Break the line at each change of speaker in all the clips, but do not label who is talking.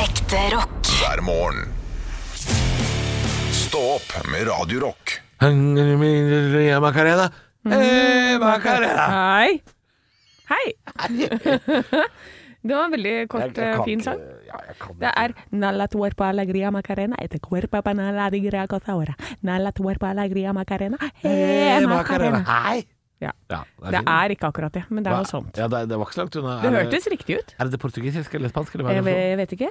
Ekte rock.
hver morgen. Stå opp med Radio Rock.
Macarena.
Mm.
Eh, Macarena.
Hei. Hei. Det var en veldig kort, eh, fin sang. Det er Nalla tuerpa alegria macarena etter cuerpa panala de gra cozahora. Nalla tuerpa alegria macarena. He,
Eh, Macarena.
macarena.
Hei.
Ja.
Ja,
Det er ikke akkurat det, men det er noe sånt.
Ja, det, er- det var ikke så langt unna.
Det
Er
hørtes riktig ut.
Er det det portugisiske eller spanske? Eller hva er det
Jeg
for noe?
ve- vet ikke.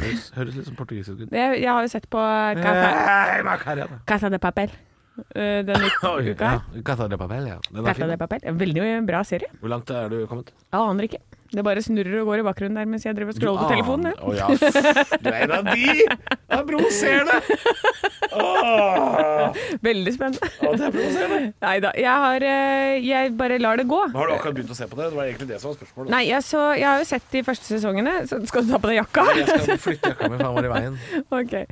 høres, høres litt som portugisisk ut.
Jeg, jeg har jo sett på Casa,
Eh, Macarena.
Casa de Papel eh, denne
Oi,
uka.
ja. Casa de Papel, ja. Den er
Casa de
fin.
Papel. En Veldig bra serie.
Hvor langt er du kommet?
Jeg aner ikke. Det bare snurrer og går i bakgrunnen der mens jeg driver og scroller på telefonen. ja.
Å ja. f- Du er en av de! Det er provoserende! Åh,
Veldig spennende.
Å, det er provoserende.
Nei da, jeg har eh, Jeg bare lar det gå.
Har du akkurat begynt å se på det? Det var egentlig det som var spørsmålet.
Nei, jeg, så, jeg har jo sett de første sesongene. Så skal du ta på deg jakka?
Jeg skal flytte jakka mi, faen var i veien.
Ok.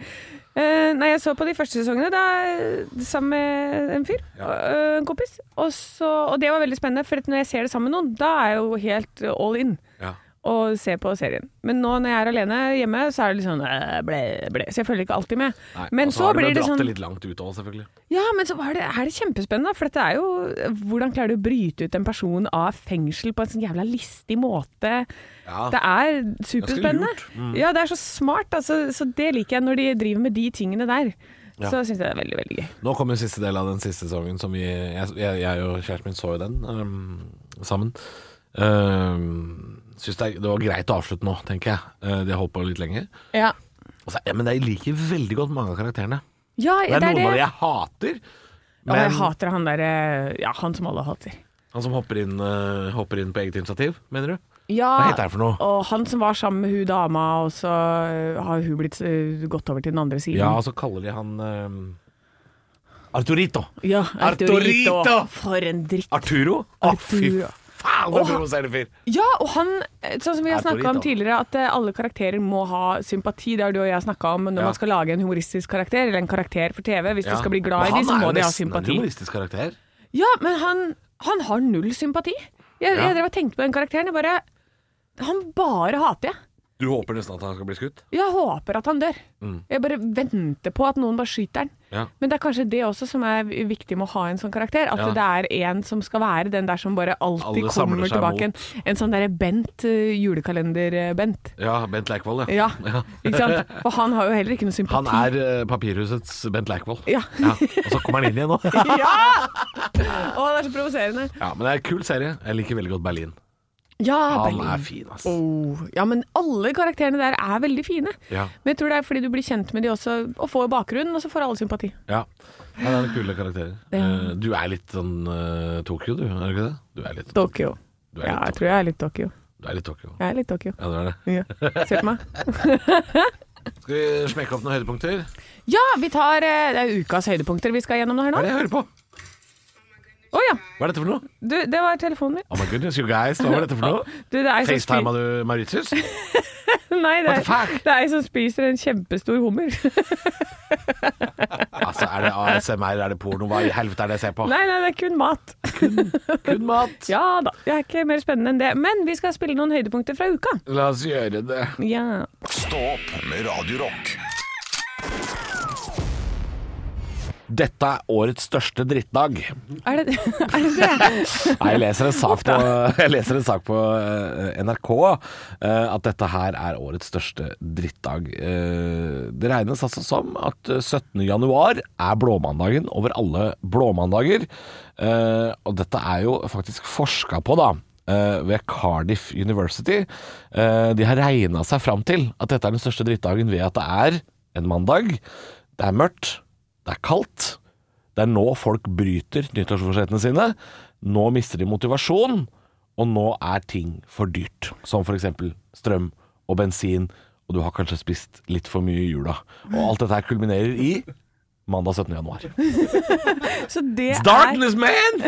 Eh, nei, jeg så på de første sesongene da, eh, sammen med en fyr. eh, en kompis. Og, så, og det var veldig spennende, for at når jeg ser det sammen med noen, da er jeg jo helt eh, all in.
Ja.
Og ser på serien. Men nå når jeg er alene hjemme, så er det litt sånn eh, ble, ble. Så jeg følger ikke alltid med.
Nei,
men
og
så,
har du
blir
vel
det
dratt
sånn
det litt langt ut òg, selvfølgelig.
Ja, men så var det, er det kjempespennende, for dette er jo Hvordan klarer du å bryte ut en person av fengsel på en sånn jævla listig måte?
Ja.
Det er superspennende.
Ah. Ganske Mm.
Ja, det er så smart, altså. Så det liker jeg når de driver med de tingene der.
Ja.
Så syns jeg det er veldig, veldig gøy.
Nå kommer siste del av den siste sesongen som vi Jeg, jeg, jeg og kjæresten min så jo den um, sammen. Um, synes det, er- det var greit å avslutte nå, tenker jeg. Uh, de har holdt på litt lenger.
Ja,
Og så- ja, men jeg liker veldig godt mange av karakterene. Det
det
er noen
er
av de
det.
jeg hater.
Og jeg
Men
hater han derre Ja, han som alle hater.
han som hopper inn, uh, hopper inn på eget initiativ, mener du?
Ja,
Hva heter han for noe?
og han som var sammen med hun dama, og så har hun blitt eh, gått over til den andre siden.
Ja, så kaller de han um, Arturito.
Ja,
Arturito!
For en dritt.
Arturo? Å, fy
Arturo.
faen,
Å,
så
han-
provoserende fyr!
Ja, og han, sånn som vi har
Er på
snakka om
litt, da.
tidligere, at eh, alle karakterer må ha sympati. Det har du og jeg snakka om når
Ja.
man skal lage en humoristisk karakter, eller en karakter for TV. Hvis
Ja.
du skal bli
Men
glad i
han
de, så
er
må
jo
de ha
nesten en
sympati.
humoristisk karakter.
Ja, men han, han har null sympati. Jeg,
Ja.
jeg drev og tenkte på den karakteren. Jeg bare Han bare hater jeg.
Du håper nesten at han skal bli skutt?
Jeg håper at han dør. Jeg bare venter på at noen bare skyter han.
Mm. Ja.
Men det er kanskje det også som er viktig med å ha en sånn karakter. At
Ja.
det er en som skal være den der som bare alltid
Alle samler
kommer
seg
tilbake. En, en sånn derre Bent, eh, julekalender-Bent.
Ja, Bent Leikvoll, ja.
Ja, ikke sant? For han har jo heller ikke noe
Han
sympati.
er eh, papirhusets Bent Leikvoll.
Ja.
Og så kommer han inn igjen nå.
Ja! Å, det er så provoserende.
Ja, men det er en kul serie. Jeg liker veldig godt Berlin.
Ja,
Han
Ah, Berlin.
er fin, ass.
Oh, ja, men alle karakterene der er veldig fine.
Ja.
Men jeg tror det er fordi du blir kjent med de også, og får bakgrunn, og så får alle sympati.
Ja. Han er kule karakterer.
Ja.
Eh, Du er litt sånn eh, Tokyo, du, er du ikke det? Du er litt
Tokyo.
Du er
Ja,
litt
jeg tror jeg er litt Tokyo.
Du er litt Tokyo.
Jeg er litt Tokyo.
Ja, du er det.
Ja. Se på meg.
Skal vi smekke opp noen høydepunkter?
Ja, vi tar eh, Det er ukas høydepunkter vi skal gjennom nå her
Hva er
nå.
det jeg hører på?
Å ja.
Hva er dette for noe?
Du, det var telefonen min.
Oh my goodness, you guys. Hva var dette for noe?
Du, det er ei som
FaceTima
spi-
du Mauritius?
Nei, det
What the
er,
fuck?
det er ei som spiser en kjempestor hummer.
Altså, er det ASMR, er det porno? Hva i helvete er det jeg ser på?
Nei, nei, det er kun mat.
Kun mat.
Ja da, det er ikke mer spennende enn det. Men vi skal spille noen høydepunkter fra uka.
La oss gjøre det.
Ja.
Stå opp med Radio Rock.
Dette er årets største drittdag.
Er det er det? det?
Nei, jeg leser en sak på, jeg leser en sak på eh, NRK eh, at dette her er årets største drittdag. Eh, Det regnes altså som at eh, 17. januar er blåmandagen over alle blåmandager. Eh, Og dette er jo faktisk forska på, da. eh, Ved Cardiff University. Eh, De har regna seg fram til at dette er den største drittdagen ved at det er en mandag. Det er mørkt, det er kaldt, det er nå folk bryter nyttårsforsettene sine. Nå mister de motivasjon, og nå er ting for dyrt. Som f.eks. strøm og bensin, og du har kanskje spist litt for mye i jula. Og alt dette her kulminerer i mandag 17. januar.
Så det
It's
er
darkness, man!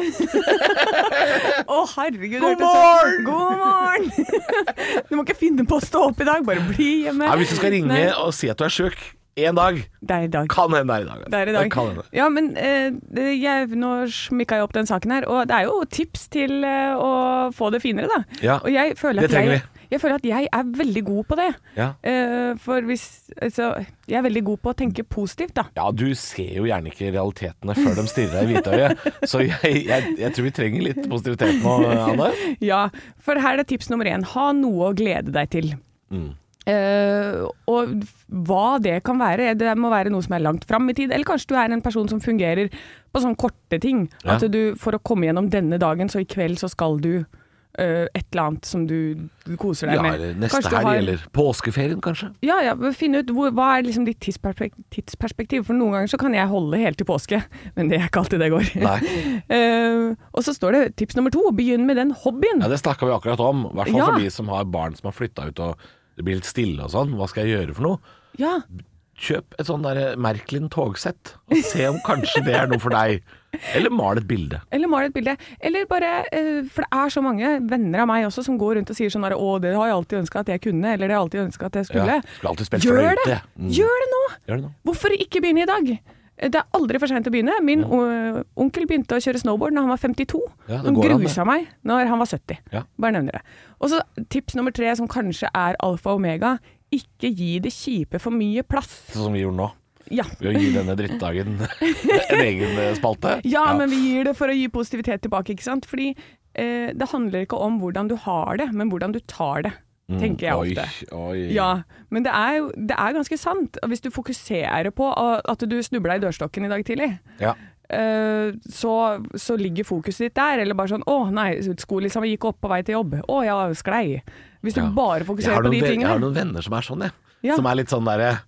Å, herregud.
God
hørtes det-
morgen!
God morgen! Du må ikke finne på å stå opp i dag, bare bli hjemme.
Nei, hvis du skal ringe
Nei,
og si at du er sjuk én dag,
Det er i dag.
kan hende det er i dag.
Det er i dag.
Kan hende.
Ja, men eh, det- jeg, nå smikka jeg opp den saken her, og det er jo tips til eh, å få det finere, da.
Ja,
og jeg føler
det
at
trenger
jeg,
vi.
Jeg føler at jeg er veldig god på det.
Ja.
Eh, for hvis Altså, jeg er veldig god på å tenke positivt, da.
Ja, du ser jo gjerne ikke realitetene før de stirrer deg i hvitøyet, så jeg, jeg, jeg tror vi trenger litt positivitet nå, Anne.
Ja, for her er tips nummer én. Ha noe å glede deg til.
Mm.
Eh, og hva det kan være. Det må være noe som er langt fram i tid, eller kanskje du er en person som fungerer på sånne korte ting.
Ja.
At du for å komme gjennom denne dagen, så i kveld så skal du eh, et eller annet som du koser deg
Ja,
med.
eller neste
Kanskje du
helg,
har-
eller påskeferien kanskje.
Ja, ja, men finne ut hvor, hva er liksom ditt tidsperspek- tidsperspektiv. For noen ganger så kan jeg holde helt til påske, men det er ikke alltid det går.
Nei.
Eh, og så står det tips nummer to, begynn med den hobbyen.
Ja, det snakka vi akkurat om. I hvert fall
Ja.
for de som har barn som har flytta ut og det blir litt stille og sånn. Hva skal jeg gjøre for noe?
Ja,
Kjøp et sånn derre Merklin togsett, og se om kanskje det er noe for deg. Eller mal et bilde.
Eller mal et bilde. Eller bare eh, For det er så mange venner av meg også som går rundt og sier sånn her Å, det har jeg alltid ønska at jeg kunne, eller det har jeg alltid ønska at jeg skulle.
Ja, skulle alltid spilt
Gjør
fløyte,
det!
jeg. Mm.
Gjør det nå!
Gjør det nå.
Hvorfor ikke begynne i dag? Eh, Det er aldri for seint å begynne. Min eh, onkel begynte å kjøre snowboard da han var 52.
Ja, det
han
går an, det.
grusa meg når han var 70.
Ja.
Bare nevner det. Og så tips nummer tre, som kanskje er alfa og omega. Ikke gi det kjipe for mye plass.
Sånn som vi gjorde nå.
Ja.
Ved å gi denne drittdagen en egen eh, spalte.
Ja, men vi gir det for å gi positivitet tilbake, ikke sant? Fordi eh, det handler ikke om hvordan du har det, men hvordan du tar det, tenker jeg ofte.
Mm, Oi, oi.
Ja, men det er, jo- det er ganske sant. Hvis du fokuserer på eh, at du snubla i dørstokken i dag tidlig,
Ja.
eh, så, så ligger fokuset ditt der. Eller bare sånn 'Å nei, skolissa mi gikk opp på vei til jobb. Å, jeg sklei'. Hvis du
Ja.
bare
Jeg har,
fokuserer på
noen,
de
ven- jeg har
tingene.
noen venner som er sånn, jeg.
Ja.
Som er litt sånn derre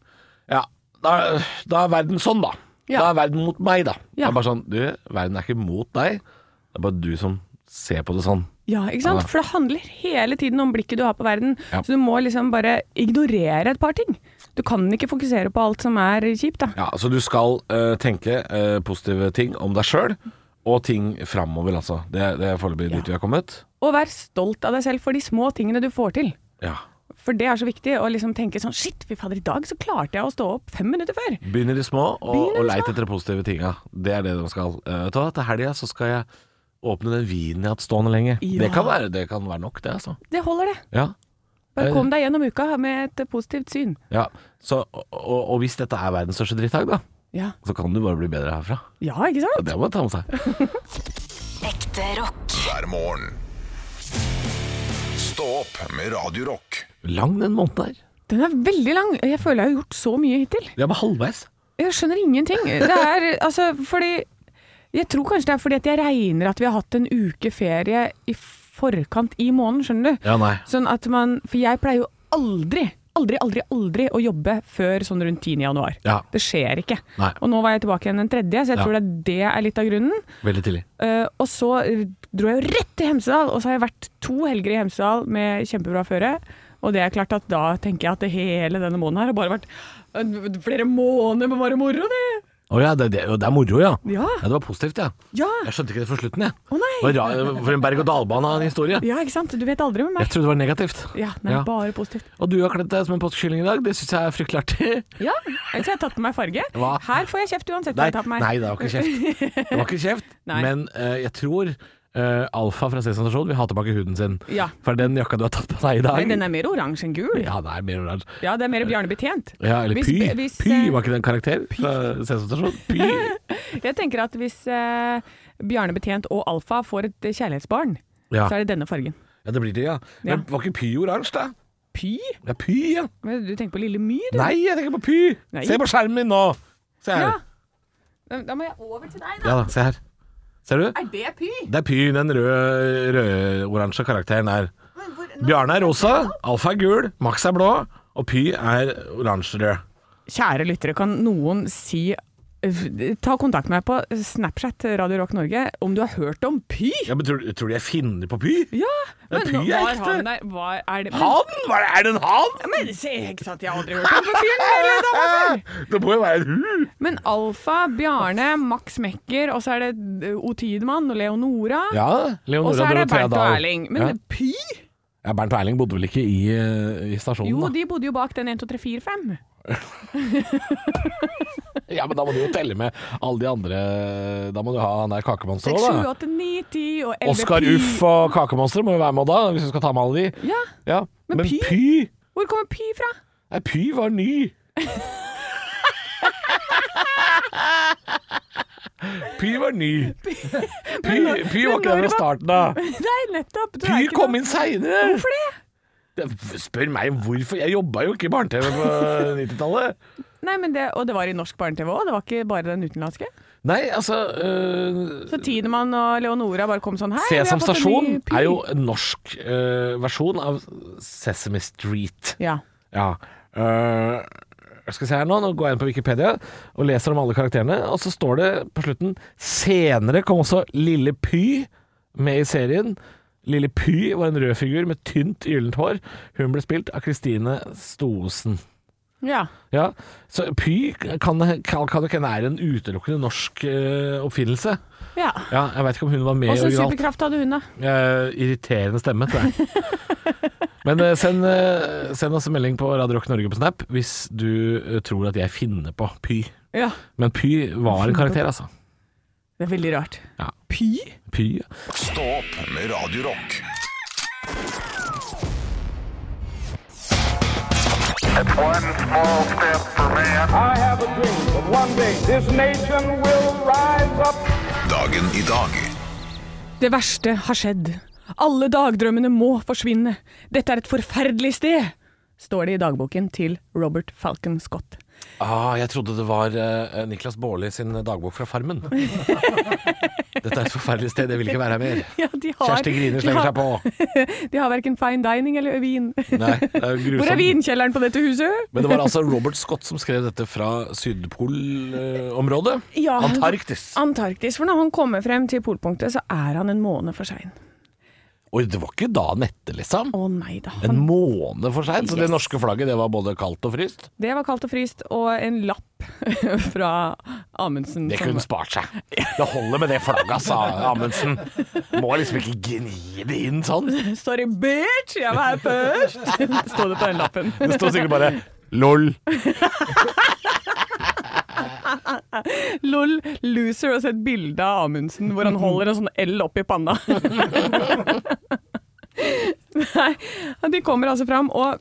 Ja, da, da er verden sånn, da.
Ja.
Da er verden mot meg, da. Det
Ja.
er bare sånn Du, verden er ikke mot deg. Det er bare du som ser på det sånn.
Ja, ikke sant? For det handler hele tiden om blikket du har på verden.
Ja.
Så du må liksom bare ignorere et par ting. Du kan ikke fokusere på alt som er kjipt, da.
Ja, Så du skal eh, tenke eh, positive ting om deg sjøl, og ting framover, altså. Det, det er foreløpig dit vi har kommet.
Og vær stolt av deg selv for de små tingene du får til.
Ja.
For det er så viktig å liksom tenke sånn Shit, fy fader, i dag så klarte jeg å stå opp fem minutter før.
Begynn i det små,
Begynn i
og,
det
og
små.
leit etter de positive tinga. Det er det de skal. Eh, vet du hva, til helga så skal jeg åpne den vinen jeg har hatt stående lenge.
Ja.
Det, kan være, det kan være nok, det, altså.
Det holder, det.
Ja.
Bare
Eh.
kom deg gjennom uka med et positivt syn.
Ja, så, og, og og hvis dette er verdens største drittdag, da,
Ja,
så kan du bare bli bedre herfra.
ja ikke
Ja,
sant?
Det må man ta med seg.
Ekte rock.
hver morgen. Stå opp med Radio Rock.
Lang den måneden her.
Den er veldig lang. Jeg føler jeg har gjort så mye hittil.
Vi er bare halvveis.
Jeg skjønner ingenting. Det er altså fordi Jeg tror kanskje det er fordi at jeg regner at vi har hatt en uke ferie i forkant i måneden, skjønner du.
Ja, nei.
Sånn at man For jeg pleier jo aldri, aldri, aldri, aldri å jobbe før sånn rundt 10. januar.
Ja.
Det skjer ikke.
Nei.
Og nå var jeg tilbake igjen den tredje, så jeg
Ja.
tror det er, det er litt av grunnen.
Veldig tidlig.
Eh, og så eh, dro jeg jo rett til Hemsedal, og så har jeg vært to helger i Hemsedal med kjempebra føre. Og det er klart at da tenker jeg at det hele denne måneden her har bare vært eh, flere måneder med bare moro, det.
Å ja, det, det, det er moro, ja.
Ja.
Det var positivt, ja.
Ja.
Jeg skjønte ikke det for slutten, jeg.
Å, nei.
Det var ra- For en berg-og-dal-bane av en historie.
Ja, ikke sant? Du vet aldri med
Jeg
meg.
trodde det var negativt.
Ja, nei,
Ja.
bare positivt.
Og du har kledd deg som en påskekylling i dag. Det syns jeg er fryktelig artig.
Ja, ellers har jeg tatt på meg farge.
Hva?
Her får jeg kjeft uansett hva
Nei,
jeg tar på meg.
nei, det var ikke kjeft. Det var ikke kjeft
Nei.
men eh, jeg tror eh, Alfa fra Sesam Stasjon vil ha tilbake huden sin.
Ja.
For den jakka du har tatt på deg i dag
Men den er mer oransje enn gul.
Ja, det er mer oransje.
Ja, det er mer Bjarne Betjent.
Ja, eller
Hvis-
Py.
hvis,
Py
eh,
var ikke den karakter fra Sesam Stasjon. Py.
Jeg tenker at hvis eh, Bjarne Betjent og Alfa får et eh, kjærlighetsbarn,
Ja.
så er det denne fargen.
ja, det blir det, ja.
Ja.
Men var ikke Py oransje, da?
Py?
Ja, Py, ja.
Men Du tenker på Lille My, du?
Nei, jeg tenker på Py.
Nei.
Se på skjermen min nå. Se her.
Ja.
Ja.
Da- Da må jeg over til deg, da.
da, se her. Ser du?
Er det Py?
Det er Py, den røde, rød-oransje karakteren her. Bjarne er rosa, Alfa er gul, Max er blå, og Py er oransje-rød.
Kjære lyttere, kan noen si Ta kontakt med meg på Snapchat Radio Rock Norge om du har hørt om Py?
Ja, men tror, tror du jeg finner på Py?
Ja!
Ja, Py er
var
ekte.
han der Hva er det men,
Han? Hva er det- er det en han?
men se, ikke sant, jeg har aldri hørt om på fyren eller dama før!
Det må jo være en hu.
Men Alfa, Bjarne, Max Mekker, og så er det eh, O Tidemann og Leonora.
Ja,
og
Leonora
så er det
Dorothea
Bernt og
Dahl.
Erling. Men
ja.
Py?
Ja, Bernt og Erling bodde vel ikke i, eh, i stasjonen,
Jo,
da?
de bodde jo bak den 1, 2, 3, 4, 5.
ja, men da må du jo telle med alle de andre eh, Da må du ha han der kakemonsteret òg,
6, 7,
Sånn, da.
8, 9, 10 og 11
Oskar
pi.
Uff og Kakemonsteret må jo være med da, hvis du skal ta med alle de.
Ja,
Ja.
Men
Men
Py?
Py
Hvor kommer Pi fra?
Nei, Py var ny. Py var ny. Py,
når-
Py var
men
ikke
når
der fra
var-
starten av.
Nei, nettopp. Du
Py
er ikke
kom
noe-
inn seinere.
Hvorfor det?
Spør meg hvorfor. Jeg jobba jo ikke i barne-TV på 90-tallet.
Nei, men det, Og det var i norsk barne-TV òg, det var ikke bare den utenlandske?
Nei, altså øh,
Så Tidemann og Leonora bare kom sånn Hei, vi har
Sesam
fått en
stasjon
ny Pi.
er jo en norsk øh, versjon av Sesame Street.
Ja.
Ja. Øh, skal vi se her nå, nå går jeg inn på Wikipedia og leser om alle karakterene, og så står det på slutten Senere kom også Lille Py med i serien. Lille Py var en rød figur med tynt, gyllent hår. Hun ble spilt av Kristine Stoesen.
ja.
Ja, så Py kan, kan, kan nok hende er en utelukkende norsk øh, oppfinnelse.
ja.
Ja, jeg veit ikke om hun var med
Åssen
originalt.
superkraft hadde hun, da?
Eh, irriterende stemme, tror jeg. Men eh, send, eh, send oss en melding på Radio Rock Norge på Snap hvis du eh, tror at jeg finner på Py.
Ja.
Men Py var en karakter, altså.
Det er veldig rart.
Ja.
Pi?
Py, ja.
Stå opp med Radio Rock.
One small step for man.
I have a dream that one day this nation will rise up.
Dagen i dag.
Det verste har skjedd. Alle dagdrømmene må forsvinne. Dette er et forferdelig sted, står det i dagboken til Robert Falcon Scott.
Ah, jeg trodde det var eh, Niklas Baarli sin dagbok fra Farmen. Dette er et forferdelig sted, jeg vil ikke være her mer.
Ja, de har,
Kjersti Grine slenger seg på.
på. De har verken fine dining eller vin.
Nei, det er jo grusomt.
Hvor er vinkjelleren på dette huset?
Men det var altså Robert Scott som skrev dette fra Sydpolområdet.
Ja.
Antarktis.
Antarktis. For når han kommer frem til polpunktet, så er han en måned for sein.
Oi, det var ikke da nette, liksom.
Å nei da.
En
Han,
måned for seint, så det
Yes.
norske flagget det var både kaldt og fryst.
det var kaldt og fryst, og en lapp fra Amundsen.
Det
som-
kunne spart seg. Det holder med det flagget, sa Amundsen. Må liksom ikke gni det inn sånn.
Sorry, bitch! Jeg var her først! Sto det på den lappen.
Det sto sikkert bare LOL.
Lol, loser, og så et bilde av Amundsen hvor han holder en sånn L opp i panna. Nei, de kommer altså fram, og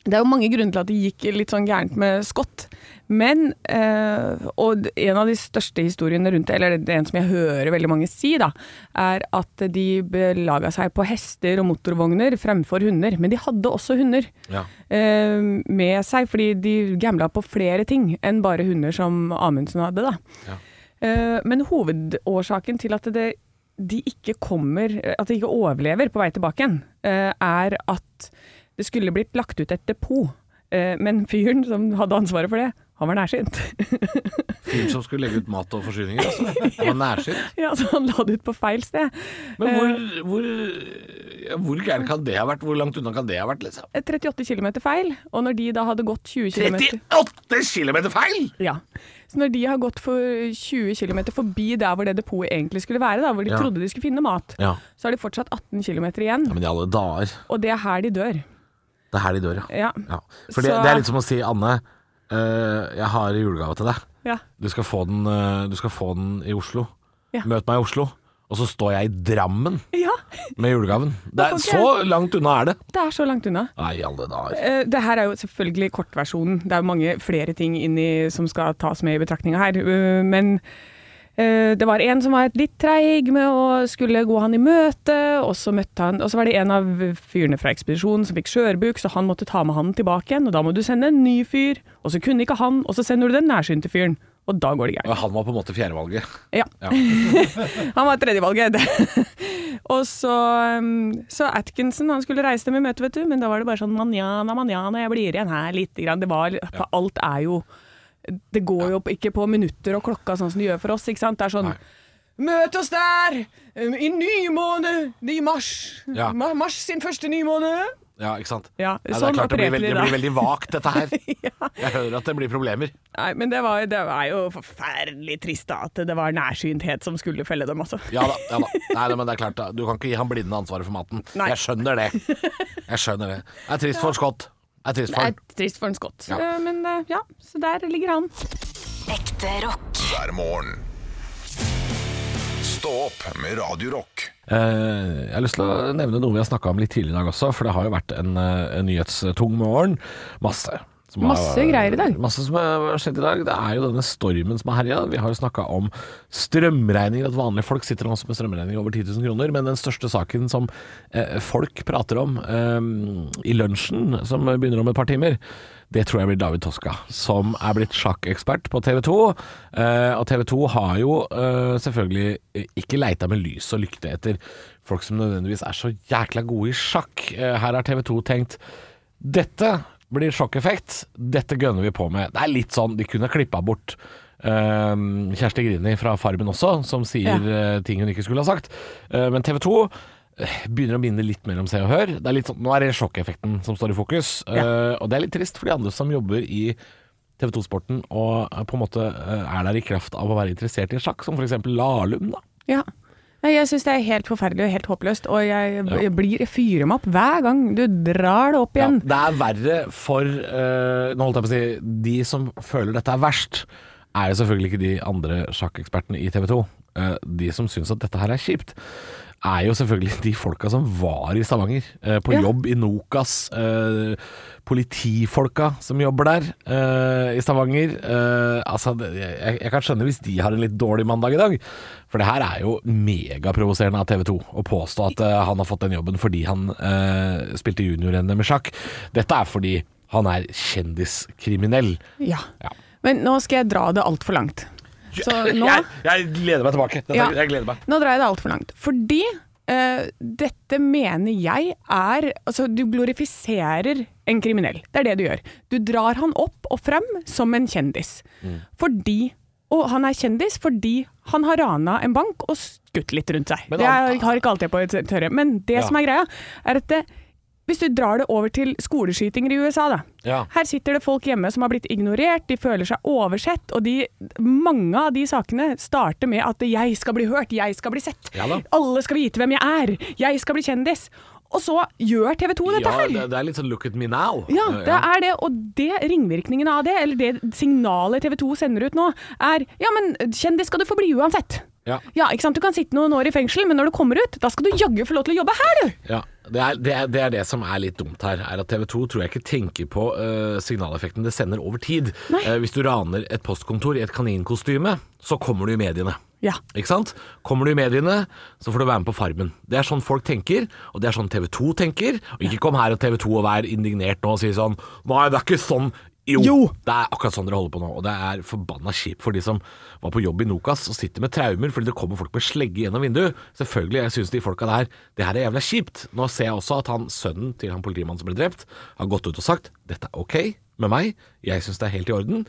det er jo mange grunner til at det gikk litt sånn gærent med Scott. Men, eh, og en av de største historiene rundt det, eller det er en som jeg hører veldig mange si, da, er at de belaga seg på hester og motorvogner fremfor hunder. Men de hadde også hunder
Ja.
eh, med seg, fordi de gambla på flere ting enn bare hunder som Amundsen hadde. Da. Eh, men hovedårsaken til at det, de ikke kommer, at de ikke overlever på vei tilbake igjen, eh, er at det skulle blitt lagt ut et depot. Eh, men fyren som hadde ansvaret for det, han var nærsynt.
Fyren som skulle legge ut mat og forsyninger, altså. Det var nærsynt.
ja, så han la det ut på feil sted.
Men hvor, hvor, ja, hvor gæren kan det ha vært? Hvor langt unna kan det ha vært, liksom?
Eh, 38 km feil, og når de da hadde gått 20 km
38 km feil!
Ja. Så når de har gått for 20 km forbi der hvor det depotet egentlig skulle være, da, hvor de
Ja.
trodde de skulle finne mat,
Ja.
så har de fortsatt 18 km igjen,
Men i alle dager.
og det er her de dør.
Det er her de dør, ja.
Ja.
ja. For det,
Så-
det er litt som å si, Anne, eh, jeg har julegave til deg.
ja.
Du skal få den, eh, du skal få den i Oslo.
Ja.
Møt meg i Oslo. Og så står jeg i Drammen
Ja,
med julegaven. Det er,
Da får ikke
så langt unna er det.
det er så langt unna.
Nei, i alle dager.
Eh, Det her er jo selvfølgelig kortversjonen. Det er jo mange flere ting inni, som skal tas med i betraktninga her. Eh, Men eh, det var en som var litt treig med å skulle gå han i møte, og så møtte han Og så var det en av fyrene fra ekspedisjonen som fikk skjørbuk, så han måtte ta med han tilbake igjen. Og da må du sende en ny fyr, og så kunne ikke han, og så sender du den nærsynte fyren. Og da går det gærent.
Og Han var på en måte fjerdevalget.
Ja.
Ja.
han var tredjevalget. og så, um, så Atkinson han skulle reise dem i møte, vet du, men da var det bare sånn manjana, manjana, jeg blir igjen her lite grann. Det var, for alt er jo Det går jo ikke på minutter og klokka sånn som det gjør for oss, ikke sant. Det er sånn
Nei.
Møt oss der! um, I nymåne! I mars!
Ja.
Ma- Mars sin første nymåned!
Ja, ikke sant?
Ja,
Nei, det
sånn
er klart det blir,
opererte
veldig,
de
det
da.
blir veldig vagt, dette her. Jeg hører at det blir problemer.
Nei, men det var, det var jo forferdelig trist da, at det var nærsynthet som skulle felle dem, altså.
Ja da. ja da Nei, nei, men det er klart, da. du kan ikke gi han blinde ansvaret for maten.
Nei.
Jeg skjønner det. Jeg skjønner det. Det er trist for Scott. er trist
Det
for
er
den.
trist for en skott.
Ja.
Eh, Men eh, ja, så der ligger han.
Ekte rock.
hver morgen. Stå opp med Radio Rock.
Eh, Jeg har lyst til å nevne noe vi har snakka om litt tidligere i dag også, for det har jo vært en, eh, en nyhetstung morgen. Masse. som
Masse greier i dag.
Masse som har skjedd i dag. Det er jo denne stormen som har herja. Vi har jo snakka om strømregninger, at vanlige folk sitter nå også med strømregninger over 10 000 kroner. Men den største saken som eh, folk prater om eh, i lunsjen, som begynner om et par timer, det tror jeg blir David Toska, som er blitt sjakkekspert på TV 2. og TV 2 har jo eh, selvfølgelig ikke leita med lys og lykte etter folk som nødvendigvis er så jækla gode i sjakk. Eh, her har TV 2 tenkt dette blir sjokkeffekt. Dette gønner vi på med. Det er litt sånn de kunne klippa bort ehm, Kjersti Grini fra Farmen også, som sier eh, ting hun ikke skulle ha sagt. Eh, men TV 2 eh, begynner å minne litt mer om Se og Hør. Det er litt sånn, nå er det sjokkeffekten som står i fokus. Eh, og det er litt trist for de andre som jobber i TV 2-sporten og eh, på en måte eh, er der i kraft av å være interessert i sjakk, som f.eks. Lahlum. da.
Ja. Nei, jeg syns det er helt forferdelig og helt håpløst, og jeg, jeg blir jeg fyrer meg opp hver gang du drar det opp
Ja,
igjen.
det er verre for eh, Nå holdt jeg på å si De som føler dette er verst, er jo selvfølgelig ikke de andre sjakkekspertene i TV 2. Eh, de som syns at dette her er kjipt, er jo selvfølgelig de folka som var i Stavanger. eh, på
Ja.
jobb i Nokas. eh, politifolka som jobber der eh, i Stavanger. Eh, altså, det, jeg, jeg kan skjønne hvis de har en litt dårlig mandag i dag. For det her er jo megaprovoserende av TV 2 å påstå at eh, han har fått den jobben fordi han eh, spilte junior-NM i sjakk. Dette er fordi han er kjendiskriminell.
Ja.
Ja.
Men nå skal jeg dra det altfor langt. Så nå,
Jeg, jeg gleder meg tilbake. Dette,
Ja.
Jeg gleder meg.
nå drar jeg det altfor langt. Fordi eh, dette mener jeg er Altså, du glorifiserer en kriminell. Det er det du gjør. Du drar han opp og frem som en kjendis.
Mm.
Fordi Og han er kjendis fordi han har rana en bank og skutt litt rundt seg.
Men
det er,
han-
har ikke alltid på et tørre. Men det
Ja.
som er greia, er at det, hvis du drar det over til skoleskytinger i USA, da.
Ja.
Her sitter det folk hjemme som har blitt ignorert, de føler seg oversett, og de, mange av de sakene starter med at 'jeg skal bli hørt, jeg skal bli sett',
Ja da.
'alle skal vite hvem jeg er', 'jeg skal bli kjendis'. Og så gjør TV 2 dette
Ja,
her!
det, det er litt sånn 'look at me now'.
Ja,
Eh,
det er det, og det ringvirkningene av det, eller det signalet TV 2 sender ut nå, er ja, men kjendis skal du få bli uansett.
Ja.
ikke sant? Du kan sitte noen år i fengsel, men når du kommer ut, da skal du jaggu få lov til å jobbe her, du!
Ja, det er, det, er, det er det som er litt dumt her. Er at TV 2 tror jeg ikke tenker på eh, signaleffekten det sender over tid.
Nei.
Eh, hvis du raner et postkontor i et kaninkostyme, så kommer du i mediene.
Ja.
Ikke sant? Kommer du i mediene, så får du være med på Farmen. Det er sånn folk tenker, og det er sånn TV 2 tenker. Og ikke kom her og TV 2 og vær indignert nå og si sånn Nei, det er ikke sånn. Jo,
Jo.
det er akkurat sånn dere holder på nå, og det er forbanna kjipt for de som var på jobb i Nokas og sitter med traumer fordi det kommer folk med slegge gjennom vinduet. Selvfølgelig, jeg syns de folka der Det her er jævla kjipt. Nå ser jeg også at han sønnen til han politimannen som ble drept, har gått ut og sagt dette er ok med meg, jeg syns det er helt i orden.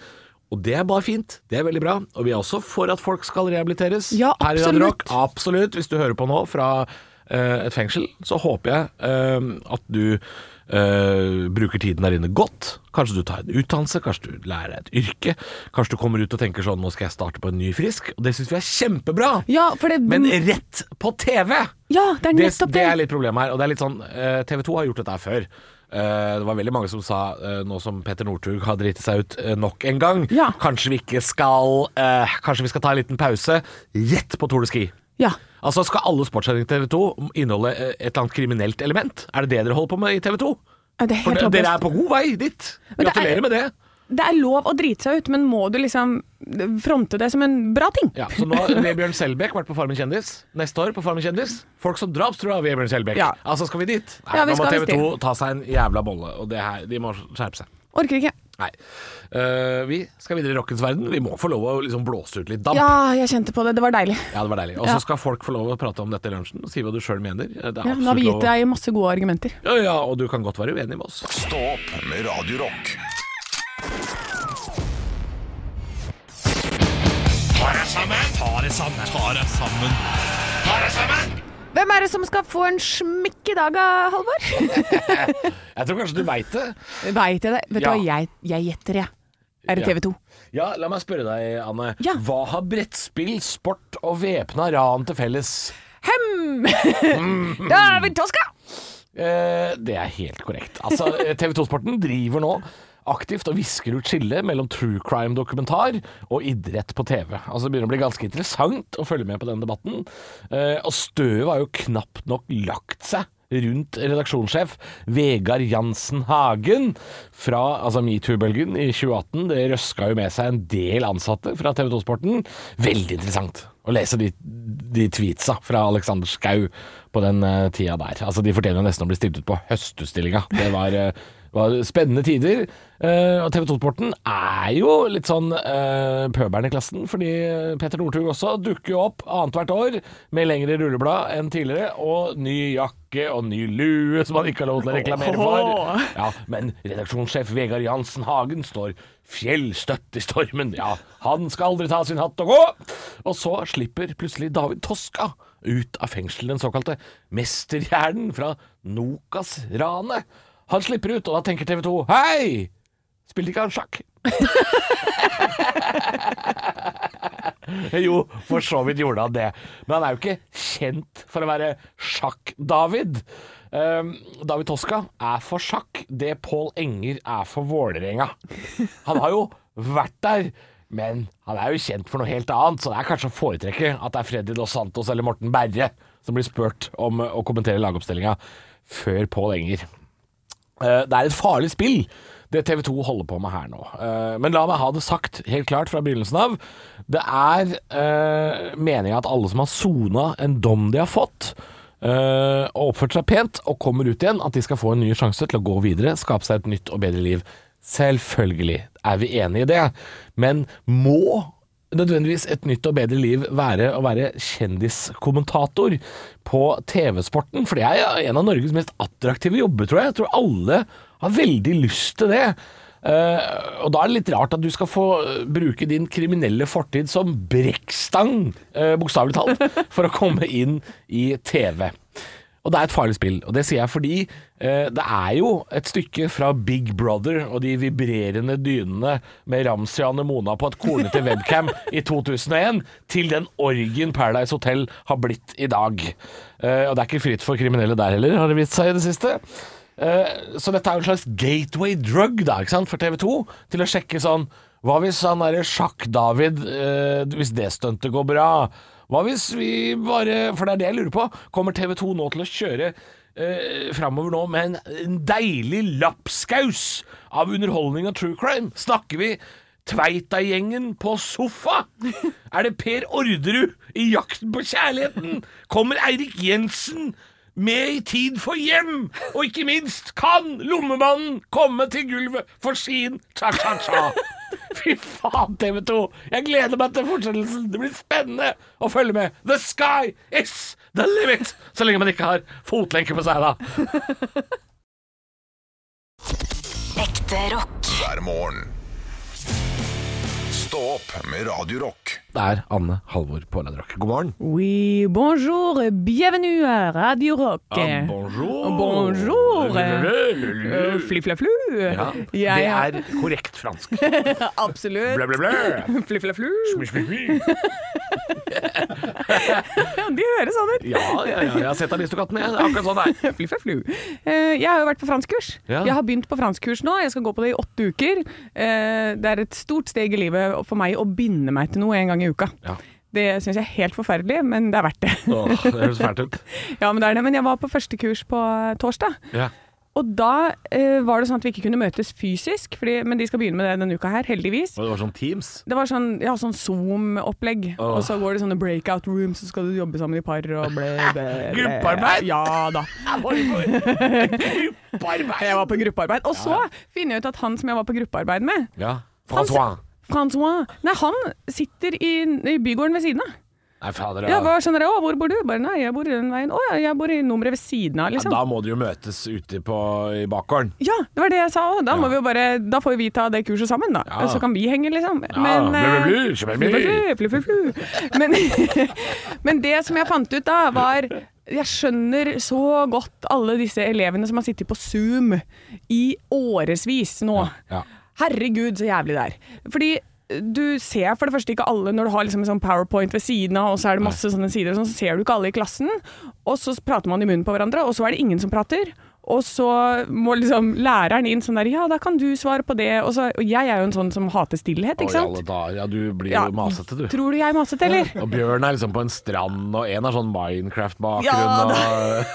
Og det er bare fint. Det er veldig bra. Og vi er også for at folk skal rehabiliteres.
Ja,
Her i Radio Rock. Absolutt.
absolutt.
Hvis du hører på nå fra eh, et fengsel, så håper jeg eh, at du eh, bruker tiden der inne godt. Kanskje du tar en utdannelse, kanskje du lærer deg et yrke. Kanskje du kommer ut og tenker sånn Nå skal jeg starte på en ny frisk. Og det syns vi er kjempebra.
Ja, for det
Men rett på TV!
Ja, det er
det,
nettopp
det
det.
er litt problemet her. Og det er litt sånn, TV 2 har gjort dette her før. Eh, det var veldig mange som sa, eh, nå som Petter Northug har driti seg ut eh, nok en gang
Ja.
Kanskje vi ikke skal eh, Kanskje vi skal ta en liten pause rett på Tour de Ski.
Ja.
Altså, skal alle sportssendinger i TV 2 inneholde eh, et eller annet kriminelt element? Er det det dere holder på med i TV 2?
Ja, Det er
For
helt
de-
håpløst.
dere er på god vei dit.
Men det er-
Gratulerer med det.
det er lov å drite seg ut, men må du liksom fronte det som en bra ting?
Ja, så nå har Vebjørn Selbekk vært på Farmen kjendis. Neste år på Farmen kjendis. Folk som draps tror jeg er Vebjørn Selbekk.
Ja.
Altså, skal vi dit? Nei,
Ja, vi
nå må
skal
TV
visst
2 ta seg en jævla bolle, og det her, de må skjerpe seg.
Orker ikke.
Nei. Eh, vi skal videre i rockens verden. Vi må få lov å liksom blåse ut litt damp.
Ja, jeg kjente på det. Det var deilig.
Ja, det var deilig. Og så
Ja.
skal folk få lov å prate om dette i lunsjen, og si hva du sjøl mener. Det er
Ja, nå har
absolutt
vi gitt
lov.
deg masse gode argumenter.
Ja, ja, og du kan godt være uenig med oss.
Stå opp med Radio Rock.
Hvem er det som skal få en smekk i dag, Halvor?
Jeg tror kanskje du veit det.
Veit jeg det? Vet du
Ja.
hva, jeg, jeg gjetter, jeg. Er det
Ja.
TV 2?
Ja, la meg spørre deg, Anne.
Ja.
Hva har brettspill, sport og væpna ran til felles?
Hem! David Toska!
Eh, det er helt korrekt. Altså, TV 2-sporten driver nå aktivt og visker ut skillet mellom true crime-dokumentar og idrett på TV. Altså, det begynner å bli ganske interessant å følge med på den debatten. Eh, og støvet har jo knapt nok lagt seg rundt redaksjonssjef Vegard Jansen Hagen fra altså metoo-bølgen i 2018. Det røska jo med seg en del ansatte fra TV 2-sporten. Veldig interessant å lese de, de tweetsa fra Alexander Schou på den eh, tida der. Altså, de fortjener jo nesten å bli stilt ut på høstutstillinga. Det var, eh, var spennende tider. Eh, og TV 2-sporten er jo litt sånn uh, pøbelen i klassen, fordi Petter Northug også dukker jo opp annethvert år med lengre rulleblad enn tidligere, og ny jakke og ny lue som han ikke har lov til å reklamere for. Ja, men redaksjonssjef Vegard Jansen Hagen står fjellstøtt i stormen. Ja, han skal aldri ta sin hatt og gå! Og så slipper plutselig David Toska ut av fengsel, den såkalte mesterhjernen fra Nokas-ranet. Han slipper ut, og da tenker TV 2 Hei! Spilte ikke han sjakk? Jo, for så vidt gjorde han det. Men han er jo ikke kjent for å være sjakk-David. Ehm, David Toska er for sjakk det Pål Enger er for Vålerenga. Han har jo vært der, men han er jo kjent for noe helt annet, så det er kanskje å foretrekke at det er Freddy Dos Santos eller Morten Berre som blir spurt om å kommentere lagoppstillinga før Pål Enger. Eh, Det er et farlig spill, det TV 2 holder på med her nå. Eh, Men la meg ha det sagt helt klart fra begynnelsen av. Det er eh, meninga at alle som har sona en dom de har fått, eh, og oppført seg pent, og kommer ut igjen, at de skal få en ny sjanse til å gå videre, skape seg et nytt og bedre liv. Selvfølgelig er vi enig i det, men må nødvendigvis et nytt og bedre liv være å være kjendiskommentator på TV-sporten, for det er en av Norges mest attraktive jobber, tror jeg. Jeg tror alle har veldig lyst til det. Eh, og da er det litt rart at du skal få eh, bruke din kriminelle fortid som brekkstang, uh, bokstavelig talt, for å komme inn i TV. Og det er et farlig spill, og det sier jeg fordi eh, det er jo et stykke fra Big Brother og de vibrerende dynene med Ramsi og Anne Mona på et kornete webcam i 2001, til den orgien Paradise Hotel har blitt i dag. Eh, og det er ikke fritt for kriminelle der heller, har det vist seg i det siste. Eh, så dette er jo en slags gateway drug da, ikke sant, for TV 2, til å sjekke sånn Hva hvis han derre sjakk-David eh, Hvis det stuntet går bra? Hva hvis vi bare For det er det jeg lurer på. Kommer TV 2 nå til å kjøre eh, framover nå med en, en deilig lapskaus av underholdning og true crime? Snakker vi Tveita-gjengen på sofa? Er det Per Orderud i Jakten på kjærligheten? Kommer Eirik Jensen med i Tid for hjem? Og ikke minst, kan lommemannen komme til gulvet for sin cha-cha-cha? Fy faen, TV 2! Jeg gleder meg til fortsettelsen. Det blir spennende å følge med. The sky is the limit! Så lenge man ikke har fotlenke på seg, da.
Ekte rock.
hver morgen. Stå opp med Radio Rock.
Det er Anne Halvor på Radio Rock. God morgen.
Oui, bonjour, bienvenue à Radio Rock.
bonjour.
Bonjour. Eh,
Lulululu.
Fli-fla-flu.
Ja,
Jeg
det er korrekt fransk.
Absolutt.
Blæ, blæ, blæ.
Fli-fla-flu.
Smi, smi, smi.
Ja, de høres sånn ut.
Ja, ja, ja, jeg har sett Aristokatten, jeg. Det er Akkurat sånn der.
Fli-fla-flu. Eh, Jeg har jo vært på franskkurs.
Ja.
Jeg har begynt på franskkurs nå. Jeg skal gå på det i åtte uker. Eh, Det er et stort steg i livet for meg å binde meg til noe en gang i uka.
Ja.
Det syns jeg er helt forferdelig, men det er verdt det.
Åh, det høres fælt ut.
Ja, men det er det. Men jeg var på første kurs på torsdag.
Ja.
Og da eh, var det sånn at vi ikke kunne møtes fysisk, fordi, men de skal begynne med det denne uka her, heldigvis.
Og det var sånn Teams.
Det var sånn, ja, sånn Zoom-opplegg,
Åh.
og så går det sånne breakout rooms, så skal du jobbe sammen i par og ble, ble, ble.
Gruppearbeid?
Ja da. Jeg
Gruppearbeid.
var på gruppearbeid. Og så finner jeg ut at han som jeg var på gruppearbeid med,
Ja.
han,
Francois.
François, nei, han sitter i, i bygården ved siden av.
Nei, fader.
Ja,
Ja.
hva skjønner jeg, å, hvor bor du? Bare, nei, jeg bor i den veien. Å ja, jeg bor i nummeret ved siden av,
Ja,
liksom.
da må dere jo møtes ute på, i bakgården.
Ja, det var det jeg sa òg. Da, må vi jo bare- da får vi ta det kurset sammen, da.
Ja.
Så kan vi henge, liksom.
Ja, blu, blu, blu, kjøp en bil.
eh, flu, flu, flu, flu, flu. Men, men det som jeg fant ut da, var Jeg skjønner så godt alle disse elevene som har sittet på Zoom i årevis nå.
Ja.
Herregud, så jævlig det er. Fordi eh, du ser for det første ikke alle når du har liksom en sånn powerpoint ved siden av, og så er det masse sånne sider, og sånn, så ser du ikke alle i klassen. Og så prater man i munnen på hverandre, og så er det ingen som prater. Og så må liksom læreren inn sånn der Ja, da kan du svare på det. Og, så, og jeg er jo en sånn som hater stillhet, ikke
Oi, alle
sant.
dager. Ja, du blir
Ja,
jo masete, du.
Tror du jeg er masete, eller?
Og Bjørn er liksom på en strand, og en har sånn Minecraft-bakgrunn.
Ja,
og-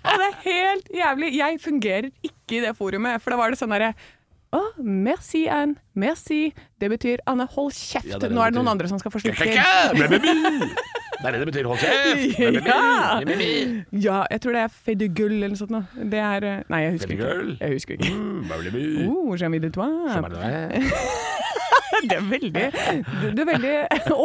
Og det er helt jævlig. Jeg fungerer ikke i det forumet, for da var det sånn derre å, merci, Anne. Merci. Det betyr Anne, hold kjeft.
Ja, det er det
Nå er
det
det noen
betyr.
andre som skal få slippe til.
Kjekke! Bæ, bæ, bæ. Det er det det betyr. Hold kjeft! Bæ, bæ, bæ.
Ja.
Bæ, bæ, bæ.
Ja, jeg tror det er Fedegull eller noe sånt. nå. Det er eh, Nei, jeg husker
Fedegull?
ikke. Jeg husker ikke.
Mm, bæ, bæ, bæ.
Oh, Jean-Ville Dutois.
Bæ, bæ, bæ.
Det er veldig, du- du er veldig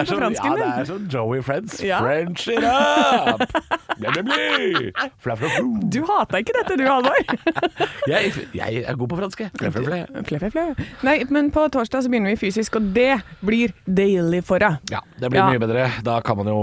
Det er
på
sånn, ja,
fransken
det
din.
er sånn Joey Friends.
Ja.
French it up! Bli, bli, bli! Fla, fla, flo.
Du hata ikke dette du, Halvor.
Jeg, jeg er god på fransk, jeg. Fla, fla, fla.
Fle, fle, fle. Nei, men på torsdag så begynner vi fysisk, og det blir deilig for deg.
Ja, det blir
Ja.
mye bedre. Da kan man jo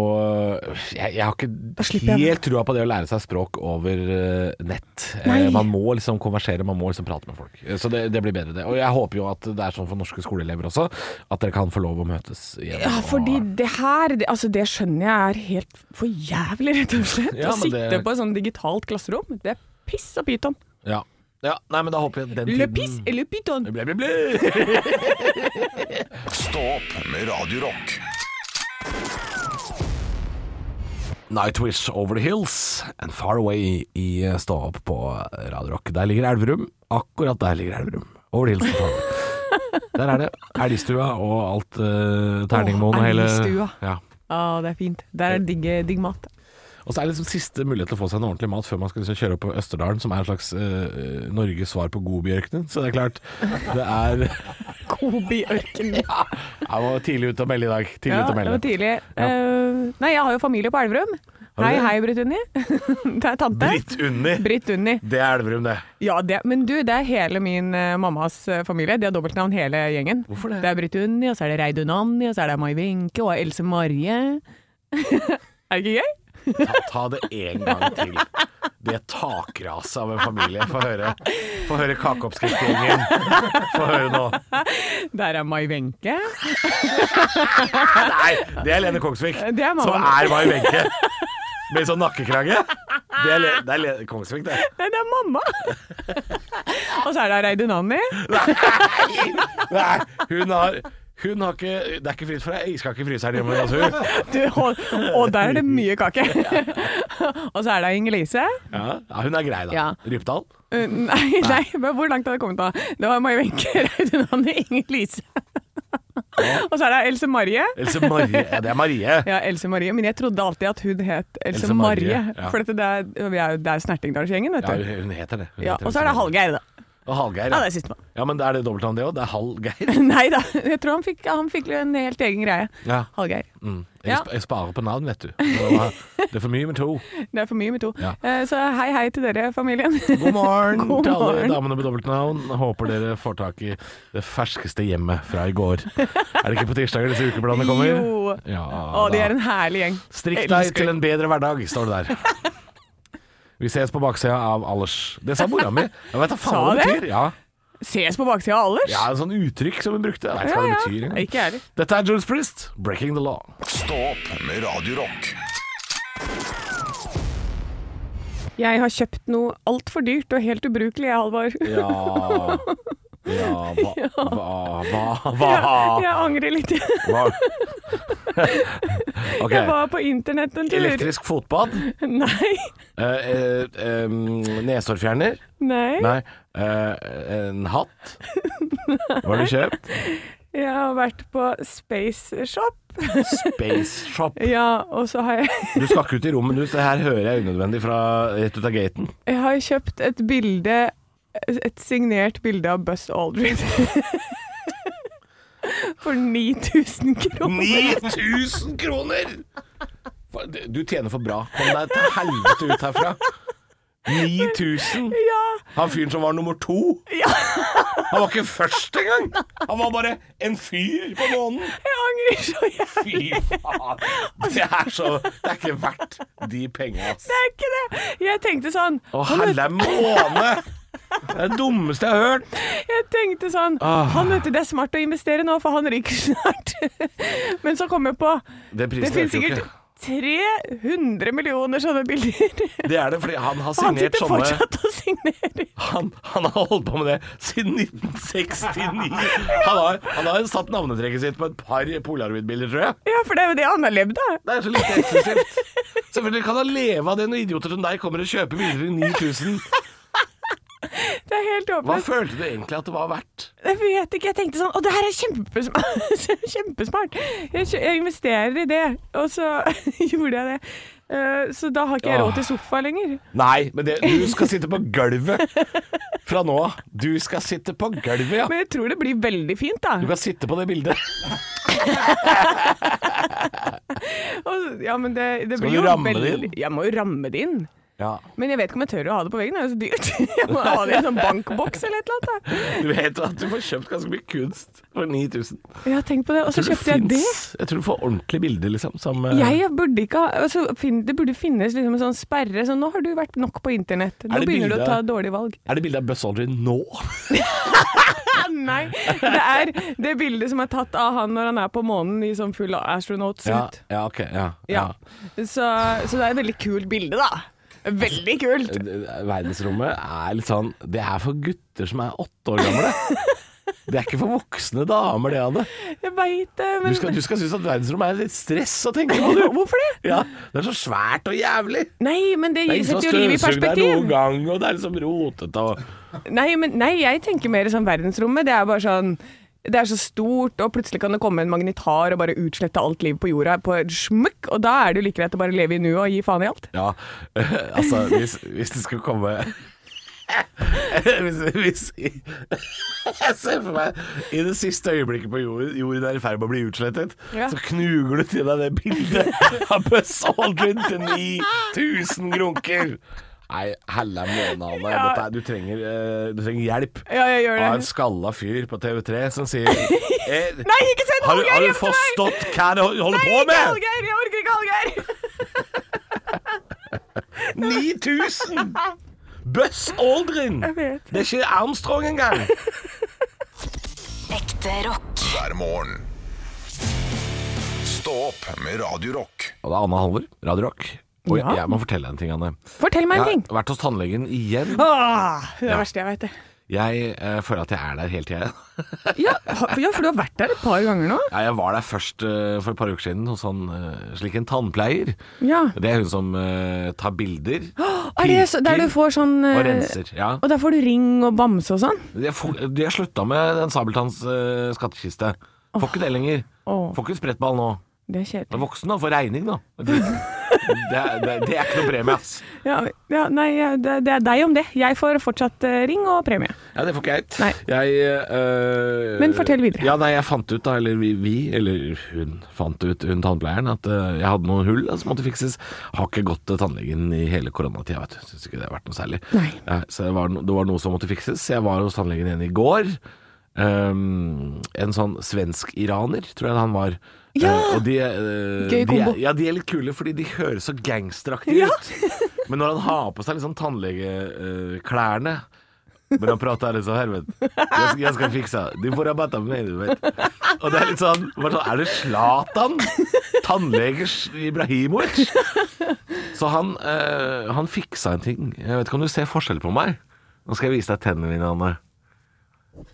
Jeg, jeg har ikke
slipper jeg-
helt trua på det å lære seg språk over eh, nett. Eh,
Nei.
Man må liksom konversere, man må liksom prate med folk. Eh, Så det, det blir bedre, det. Og jeg håper jo at det er sånn for norske skoleelever også, at dere kan få lov å møtes igjen.
Ja,
og-
fordi det her, det, altså det skjønner jeg er helt for jævlig, rett og slett.
Ja,
Å
men det-
sitte på et sånt digitalt klasserom, det er piss og pyton.
ja. ja. Nei, men da håper jeg den
Le
tiden
piss eller pyton.
Bli, bli, bli.
Stå opp med Radio Rock.
Nightwish Over the Hills and Far Away i eh, Stå opp på Radio Rock. Der ligger Elverum. Akkurat der ligger Elverum. Over the Hills. and Far Away. Der er det. Elgstua og alt eh, Terningmoen og
Åh,
hele
Elgstua.
ja.
Å, det er fint. Der er digg, digg mat.
Og så er det liksom siste mulighet til å få seg en ordentlig mat før man skal liksom kjøre opp på Østerdalen, som er en slags eh, Norges svar på Godbjørkene. Så det er klart, det er
Kobe i ørkenen.
ja, Jeg var tidlig ute og melde i dag. Tidlig
Ja,
ute og
det var
melde.
tidlig. Eh, nei, jeg har jo familie på Elverum.
du
Hei,
det?
hei, Britt Unni. det er tante.
Britt Unni.
Britt Unni.
Det er Elverum, det.
Ja, det, men du, det er hele min eh, mammas eh, familie. De har dobbeltnavn hele gjengen.
Hvorfor det?
Det er Britt Unni, og så er det Reidun Anni, og så er det Mai Wenche og Else Marie. er det ikke gøy?
Ta, ta det en gang til. Det takraset av en familie. Få høre, få høre kakeoppskriftgjengen. Få høre nå.
Der er Mai Wenche.
Nei, det er Lene Kongsvik.
Det er mamma.
som er Mai Wenche. Med sånn nakkekrage. Det er, Le, det er Lene Kongsvik, det.
Nei, det er mamma! og så er det Reidun Anni.
Nei, hun har hun har ikke, Det er ikke fritt for deg. Jeg skal ikke fryse her hjemme. Altså. hun.
Du, og, og der er det mye kake. og så er det Inger-Lise.
Ja, ja, hun er grei, da.
Ja.
Rypdal.
Uh, nei, nei, men hvor langt har det kommet da? Det var Mai Wenche, Reidun Anni, Inger-Lise. og så er det Else Marie.
Else Marie. Ja, det er Marie.
Ja, Else Marie. Men jeg trodde alltid at hun het Else,
Else Marie,
Marie.
ja.
For dette, det er, vi er, jo- det er Snertingdalsgjengen, vet
Ja,
du.
hun hun heter det. Hun
Ja,
heter
og så er det
Else Marie.
Hallgeir, da.
Og Hallgeir.
Ja, det
Ja.
er sistemann.
ja, men det er det dobbeltnavn, det òg. Det er Hallgeir.
Nei da, jeg tror han fikk, han fikk en helt egen greie.
Ja.
Hallgeir.
Mm. Jeg,
Ja.
sp jeg sparer på navn, vet du. Det er for mye med to.
Det er for mye med to.
Ja.
Eh, Så hei hei til dere, familien.
God morgen
God
til alle
morgen.
damene med dobbeltnavn. Håper dere får tak i det ferskeste hjemmet fra i går. Er det ikke på tirsdager disse ukebladene kommer?
Jo.
Ja,
Å, de
da.
er en herlig gjeng.
Strikk deg
Elsker
til en bedre hverdag, står det der. Vi ses på baksida av Allers. Det sa mora mi. Jeg vet da faen
Sa
hva det
det?
betyr. Ja.
Ses på baksida av Alders?
ja, en sånn uttrykk som hun brukte. Jeg vet ikke hva det betyr. engang.
Ikke jeg heller.
Dette er Jules Priest, 'Breaking the Law'.
Stå opp med Radio Rock.
Jeg har kjøpt noe altfor dyrt og helt ubrukelig, jeg, Halvor.
Ja Ja, hva Hva Hva,
Jeg, jeg angrer litt.
hva? Ok.
Jeg var på internett en tur.
Elektrisk fotbad.
Nei.
eh, eh, eh, Neshårfjerner.
Nei.
Nei. eh, en hatt. Hva har du kjøpt?
Jeg har vært på Space Shop.
Space Shop.
Ja, og så har jeg,
Du skal ikke ut i rommet, du. så Det her hører jeg unødvendig fra rett ut av gaten.
jeg har kjøpt et bilde Et signert bilde av Buzz Aldrin. For 9000 kroner.
9000 kroner! Hva- Du tjener for bra. Kom deg til helvete ut herfra. 9000?
Ja,
Han fyren som var nummer to?
Ja.
Han var ikke først engang! Han var bare en fyr på månen.
jeg angrer så jævlig.
Fy faen. Det er så Det er ikke verdt de penga, ass.
Det er ikke det. Jeg tenkte sånn
Å, helle måne! Det er det dummeste jeg har hørt.
Jeg tenkte sånn
Ah.
Han vet du, det er smart å investere nå, for han ryker snart. Men så kom jeg på
Den prisen
Det finnes
øker jo
sikkert
ikke.
300 millioner sånne bilder.
Det er det, fordi han har
Han
signert
sitter
sånne
fortsatt og signerer.
han, han har holdt på med det siden 1969. Han har, han har satt navnetrekket sitt på et par polaroidbilder, tror jeg.
Ja, for det er jo det han har levd av.
Det er så lite eksklusivt. Selvfølgelig kan han leve av det når idioter som deg kommer og kjøper biler i 9000.
Det er helt
Hva
åpent.
følte du egentlig at det var verdt?
Jeg vet ikke. Jeg tenkte sånn Å, det her er kjempesmart! kjempesmart. Jeg, kjø- jeg investerer i det. Og så gjorde jeg det. Eh, Så da har ikke jeg
Åh.
råd til sofa lenger.
Nei, men det, du skal sitte på gulvet fra nå av. Du skal sitte på gulvet, ja.
Men jeg tror det blir veldig fint,
Du
da.
kan sitte på det bildet.
Og, ja, men det, det
Skal
blir
du
jo
ramme
veldig,
det inn?
Jeg må jo ramme det inn.
Ja.
Men jeg vet ikke om jeg tør å ha det på veggen. Det er jo så dyrt. Jeg må ha det i en sånn bankboks eller et eller annet. da.
Du vet at du får kjøpt ganske mye kunst for 9000.
Ja, tenk på det. Og
Tror
så
du
kjøpte jeg det.
finnes- Jeg tror du får ordentlige bilder, liksom. Som, eh,
Jeg burde ikke ha altså, fin, Det burde finnes liksom en sånn sperre. Så nå har du vært nok på internett. Nå
det
begynner du
bildet-
å ta dårlige valg.
Er det bilde av Buzz Aldrin nå?
Ah, Nei, det er det bildet som er tatt av han når han er på månen i sånn full astronaut-suit.
ja, ok. Ja.
Ja. Så, så det er et veldig kult bilde, da. Veldig kult.
Eh, Verdensrommet er litt sånn Det er for gutter som er åtte år gamle. Det er ikke for voksne damer, det, Anne.
Jeg veit det,
Du
men
skal, du skal synes at verdensrommet er litt stress å tenke på, du.
Hvorfor det?
Ja, det er så svært og jævlig.
Nei, men
Det
det,
er ingen som
setter jo livet i
støvsuger der noen
perspektiv.
gang, og det er liksom rotete og
Nei, men, nei, jeg tenker mer sånn verdensrommet. Det er bare sånn det er så stort, og plutselig kan det komme en magnetar og bare utslette alt liv på jorda på et smukk, og da er det jo like greit å bare leve i nuet og gi faen i alt.
Ja, eh, altså hvis, hvis det skulle komme hvis, hvis Jeg ser for meg i det siste øyeblikket på jorden, jorden er i ferd med å bli utslettet,
Ja.
så knuger du til deg det bildet av Buzz Aldrin til 9000 grunker. Nei, helle måne, Anne.
Ja.
Dette er- Du, trenger, eh, du trenger hjelp.
Ja, jeg gjør
Av en
det.
skalla fyr på TV3 som sier eh,
Nei, ikke
har,
send
du-
Hallgeir
har du
hjem til meg!»
forstått hva du holder på
Ikke
med?
Hallgeir! Jeg orker ikke Hallgeir!
9000! Buzz Aldrin!
vet.
Det er ikke Armstrong engang.
Ekte rock.
hver morgen. Stå opp med Radio Rock.
Og det er Anna Halvor, Radio Rock. Og jeg,
Ja.
jeg må fortelle deg en ting, Anne.
Fortell meg
Jeg
en ting.
har vært hos tannlegen igjen.
Åh, Ah, det er det verste jeg veit, det.
Jeg eh, føler at jeg er der hele tida.
Ja, ha- ja, for du har vært der et par ganger nå.
Ja, jeg var der først eh, for et par uker siden hos han, eh, slik en tannpleier.
Ja.
Det er hun som eh, tar bilder.
Er det så, der
pirker
du får sånn
og
eh,
renser. Ja.
Og der får du ring og bamse og sånn?
De har, fo- de har slutta med den Sabeltanns eh, skattkiste. Får ikke det lenger.
Åh.
Får ikke sprettball nå.
Det
Det
er
er
kjedelig.
voksen da, får regning da. Det, det, er- det, det er ikke noe premie, ass.
Ja, ja, nei, ja, det, det er deg om det. Jeg får fortsatt eh, ring og premie.
Ja, det får ikke jeg.
Nei.
Jeg, øh,
Men fortell videre.
Ja, nei, jeg fant ut da, eller vi, vi eller hun fant ut, hun tannpleieren, at øh, jeg hadde noen hull da, som måtte fikses. Har ikke gått til tannlegen i hele koronatida, vet du. Syns ikke det har vært noe særlig.
Nei.
så det var, no- det var noe som måtte fikses. Jeg var hos tannlegen igjen i går. Ehm, en sånn svensk-iraner, tror jeg han var.
Ja!
Eh, og de, eh,
Gøy
de
kombo.
er, ja, de er litt kule fordi de høres så gangsteraktige
Ja.
ut. Men når han har på seg liksom tannlegeklærne men han prater litt sånn Herved, jeg, skal- jeg skal fikse det. Du får rabatt av meg, du vet. Og det er litt sånn, bare sånn Er det Zlatan? Tannlegers Ibrahimovic? Så han, eh, han fiksa en ting. Jeg vet ikke om du ser forskjell på meg? Nå skal jeg vise deg tennene mine, Anne.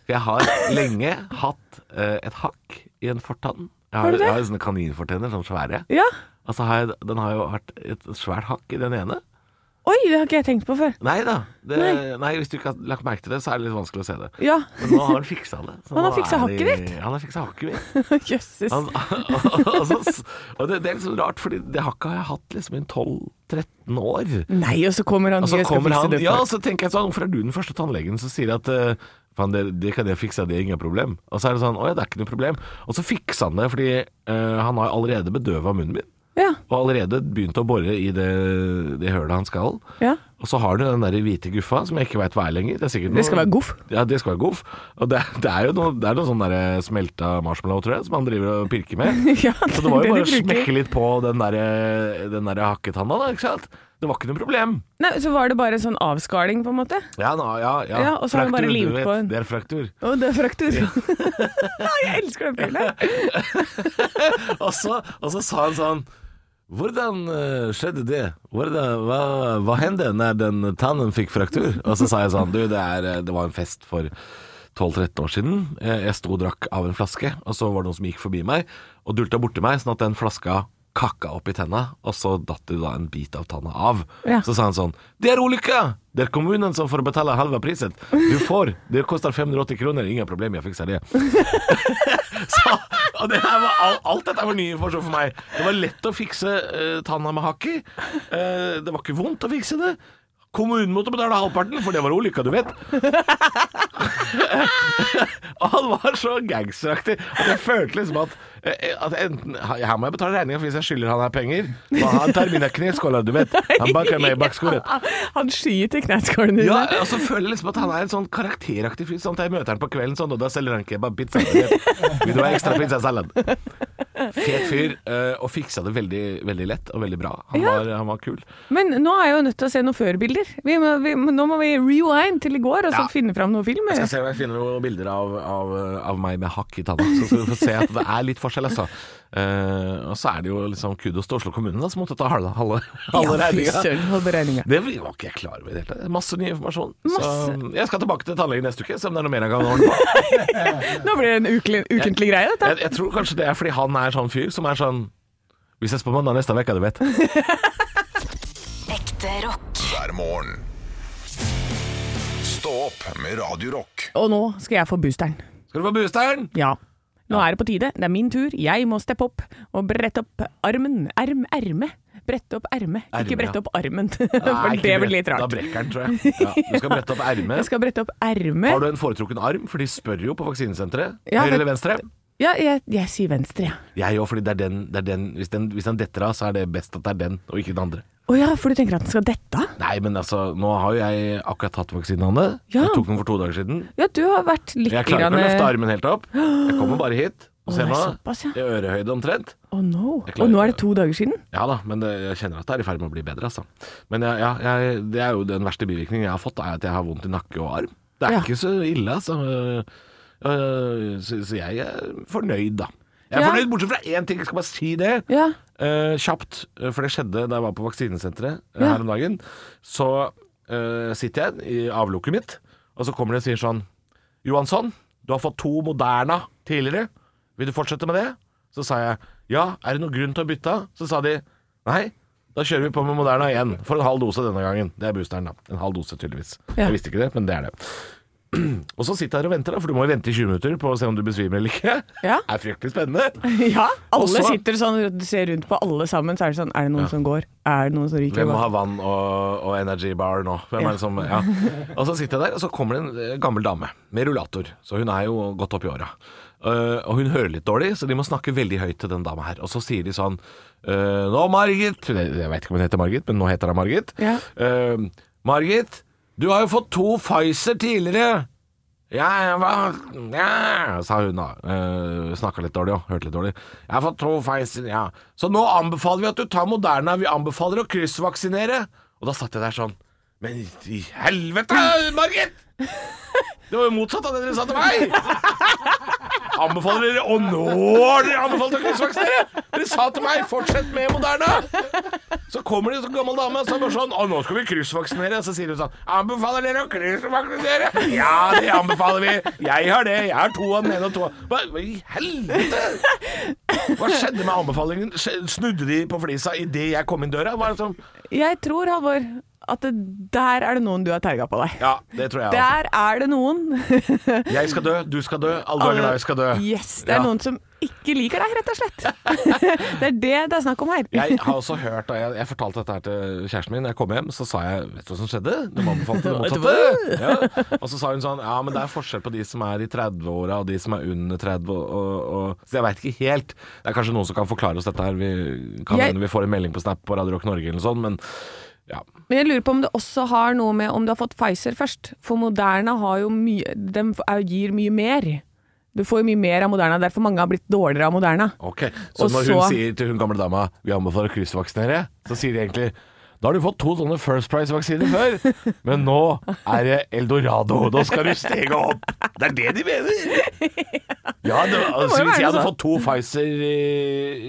For Jeg har lenge hatt eh, et hakk i en fortann. Jeg har,
Har du det?
jeg har jo sånne kaninfortenner, sånn svære.
Ja.
Altså, har jeg, den har jo vært et svært hakk i den ene.
Oi, det har ikke jeg tenkt på før.
Nei da. Det, nei.
Nei.
hvis du ikke har lagt merke til det, så er det litt vanskelig å se det.
Ja.
Men nå har han fiksa det. Så
Han har
nå
fiksa
er det-
hakket ditt?
Han har fiksa hakket mitt.
Jøsses.
Han, og så- og det, det er litt så rart, Fordi det hakket har jeg hatt liksom i 12-13 år.
Nei, og så kommer han
Og så
jeg skal
kommer
fikse
han
det for-
Ja, og så tenker jeg sånn Hvorfor er du den første tannlegen som sier at eh, Faen, det, det kan jeg fikse, det er ingen problem. Og så er det sånn Å ja, det er ikke noe problem. Og så fiksa han det fordi eh, han har allerede bedøva munnen min.
ja.
Og allerede begynt å bore i det, det hølet han skal.
Ja.
Og Og så har du den der hvite guffa som jeg ikke veit hva er lenger. Det, er sikkert noe,
Det skal være goff.
Ja, det skal være goff. Og det, det er jo noe, det er noe sånn der smelta marshmallow, tror jeg, som han driver og pirker med.
Ja,
så det var jo bare å
det er det de bruker.
smekke litt på den der, eh, den der hakketanna, da, ikke sant? Det var ikke noe problem.
Nei, så var det bare sånn avskaling, på en måte.
Ja, nå- ja, ja.
Ja, og så har han bare
Fraktur,
limt
du vet.
på en-
Det er fraktur.
Å, det er fraktur. jeg elsker den filmen.
Og så, og så sa han sånn hvordan eh, skjedde det? Hvordan, hva, hva hendte når den tannen fikk fraktur? Og så sa jeg sånn, du, det, er, eh, det var en fest for 12-13 år siden. Eh, Jeg sto og drakk av en flaske, og så var det noen som gikk forbi meg og dulta borti meg, sånn at den flaska kakka opp i tenna, og så datt det da en bit av tanna av.
Ja.
Så sa han sånn, det er ulykka! Det er kommunen som får betale halva prisen. Du får, det koster 580 kroner, ingen problem, jeg fikser det. Så, og det her var, alt, alt dette var ny informasjon for meg. Det var lett å fikse eh, tanna med hakk i. Eh, det var ikke vondt å fikse det. Kommunen måtte betale halvparten, for det var ulykka, du vet. og han var så gangsteraktig at jeg følte liksom at, eh, at enten Her må jeg betale regninga hvis jeg skylder han her penger. Og han tar mine kneskåler, du vet. Han banker meg i bakskåret.
Han skyter kneskålen din.
Ja,
der.
og så føler jeg liksom at han er en sånn karakteraktig fyr. Sånn at jeg møter han på kvelden sånn, og da selger han kebab pizza. Vil du ha ekstra pizzasalat? Fet fyr, eh, og fiksa det veldig, veldig lett og veldig bra. Han,
Ja.
var, han var kul.
Men nå er jeg jo nødt til å se noen førbilder. Vi må, vi, nå må vi rewind til i går og så
Ja.
finne fram noen filmer.
Jeg skal se om jeg finner noen bilder av, av, av meg med hakk i tanna, så skal du få se at det er litt forskjell, altså. Eh, og så er det jo liksom kudos til Oslo kommune, da, som måtte ta halve, halve, halve regninga. Det var ikke jeg klar over i det hele tatt. Masse ny informasjon. Så
Masse.
jeg skal tilbake til tannlegen neste uke, se om det er noe mer jeg kan ordne på.
Nå blir det en ukelig, ukentlig greie,
jeg,
dette.
jeg tror kanskje det er fordi han er sånn fyr som er sånn Vi ses på mandag neste uke, du vet.
Ekte rock.
hver morgen. Stå opp med Radio Rock.
Og nå skal jeg få boosteren.
Skal du få boosteren?
Ja. Nå er det på tide. Det er min tur. Jeg må steppe opp og brette opp armen. Erm, erme. Brette opp ermet.
Erme,
Ikke brette
ja.
opp armen, for
Nei, ikke
det
brett-
blir litt
Da
rart.
brekker den, tror jeg. Ja, du skal brette opp
Jeg
ermet.
skal brette opp
Har
ermet.
du en foretrukken arm? For de spør jo på vaksinesenteret.
Ja,
Høyre
vet-
eller venstre?
Ja, jeg, jeg sier venstre, ja.
Jeg òg, fordi det er den, det er den, hvis den Hvis den detter av, så er det best at det er den, og ikke den andre.
Å ja, for du tenker at den skal dette av?
Nei, men altså, nå har jo jeg akkurat tatt vaksinen, Anne.
Ja.
Jeg tok den for to dager siden.
Ja, du har vært litt
Jeg klarer ikke å løfte
grann-
armen helt opp. Jeg kommer bare hit. Og
Å,
se
det er
nå.
såpass, ja.
I ørehøyde omtrent.
Å no.
Jeg klarer
Og nå
ikke
er det to dager siden?
Ja da, men det, jeg kjenner at det er i ferd med å bli bedre, altså. Men ja, ja, jeg, det er jo den verste bivirkningen jeg har fått, er at jeg har vondt i nakke og arm. Det er
Ja.
ikke så ille, altså. Øh, Så, så jeg er fornøyd, da. Jeg er
Ja.
fornøyd bortsett fra én ting, jeg skal bare si det.
Ja.
Eh, kjapt, eh, for det skjedde da jeg var på vaksinesenteret eh,
Ja.
her om dagen. Så eh, sitter jeg i avlukket mitt, og så kommer det og sier sånn Johansson, du har fått to Moderna tidligere. Vil du fortsette med det? Så sa jeg ja, er det noen grunn til å bytte? Så sa de nei. Da kjører vi på med Moderna igjen, for en halv dose denne gangen. Det er boosteren, da. En halv dose, tydeligvis.
Ja.
Jeg visste ikke det, men det er det. Og så sitter jeg her og venter, da, for du må jo vente i 20 minutter på å se om du besvimer eller ikke.
Ja.
Det er fryktelig spennende.
ja.
Og
Alle
så-
sitter sånn og ser rundt på alle sammen, så er det sånn Er det noen som går? Er det noen som ryker?
Hvem må ha vann og, og energy bar nå? Hvem
Ja.
er det som, ja. Og så sitter jeg der, og så kommer det en eh, gammel dame med rullator. Så hun er jo godt opp i åra. Eh, og hun hører litt dårlig, så de må snakke veldig høyt til den dama her. Og så sier de sånn eh, Nå, Margit Hun- Jeg vet ikke om hun heter Margit, men nå heter hun Margit.
Ja.
Eh, Margit, du har jo fått to Pfizer tidligere. Ja, jeg var, ja, sa hun da. Uh, Snakka litt dårlig og hørte litt dårlig. Jeg har fått to Pfizer, ja. Så nå anbefaler vi at du tar Moderna. Vi anbefaler å kryssvaksinere. Og da satt jeg der sånn. Men i helvete, Margit! Det var jo motsatt av det dere sa til meg! Anbefaler dere Og nå har dere anbefalt å kryssvaksinere! Dere sa til meg 'fortsett med Moderna'. Så kommer det en sånn gammel dame og så er det bare sånn 'Å, nå skal vi kryssvaksinere'. Så sier hun sånn 'Anbefaler dere å kryssvaksinere?' 'Ja, det anbefaler vi. Jeg har det. Jeg har to av den ene og to av Hva hva i helvete? Hva skjedde med anbefalingen? Skje- Snudde de på flisa idet jeg kom inn døra? Hva er det som
Jeg tror, Halvor, at det, der er det noen du har terga på deg.
Ja, det tror jeg også.
Der er det noen
Jeg skal dø, du skal dø, alle dager jeg skal dø.
Yes, det er
Ja.
noen som ikke liker deg, rett og slett. det er det det er snakk om her.
Jeg har også hørt, og jeg, jeg fortalte dette her til kjæresten min da jeg kom hjem, så sa jeg Vet du hva som skjedde? De anbefalte det motsatte. Ja. Og så sa hun sånn Ja, men det er forskjell på de som er i 30-åra og de som er under 30 og, og, og Så jeg veit ikke helt. Det er kanskje noen som kan forklare oss dette her. Vi kan
Jeg-
hende vi får en melding på Snap på Radio Rock Norge eller noe sånt, men Ja.
Men jeg lurer på om det også har noe med om du har fått Pfizer først. For Moderna har jo mye, den f- er- gir mye mer. Du får jo mye mer av Moderna, derfor mange har blitt dårligere av Moderna.
Ok, Så
Og
når hun
så-
sier til hun gamle dama vi anbefaler å kryssvaksinere, så sier de egentlig da har du fått to sånne First Price-vaksiner før, men nå er det eldorado. Nå skal du stege opp. Det er det de mener! Ja, det, altså, Hvis jeg
jo være
hadde
sånn.
fått to Pfizer i,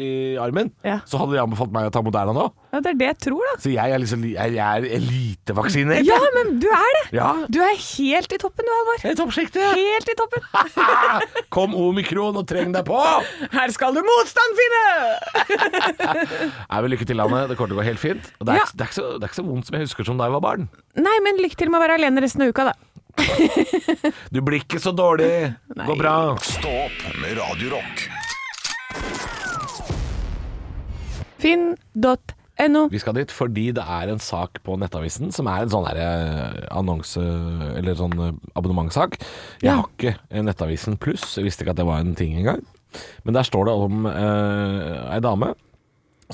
i armen,
Ja.
så hadde de anbefalt meg å ta Moderna nå.
Ja, det er det jeg tror, da.
Så jeg er, liksom, jeg er elitevaksinert.
Ja, men du er det!
Ja.
Du er helt i toppen du, Halvor.
Jeg er i toppsjiktet.
Helt i toppen.
Ah, Kom omikron og treng deg på!
Her skal du motstand finne!
Er vi lykke til, Anne. Det kommer til å gå helt fint. Og det, er,
Ja.
ikke- det, er ikke så, det er ikke så vondt som jeg husker som da jeg var barn.
Nei, men lykke til med å være alene resten av uka, da.
Du blir ikke så dårlig.
Nei.
Går bra.
Stå opp med Radio Rock.
Finn.no.
Vi skal dit fordi det er en sak på Nettavisen som er en sånn her eh, annonse Eller sånn eh, abonnementssak. Jeg
Ja.
har ikke Nettavisen pluss, jeg visste ikke at det var en ting engang. Men der står det om eh, ei dame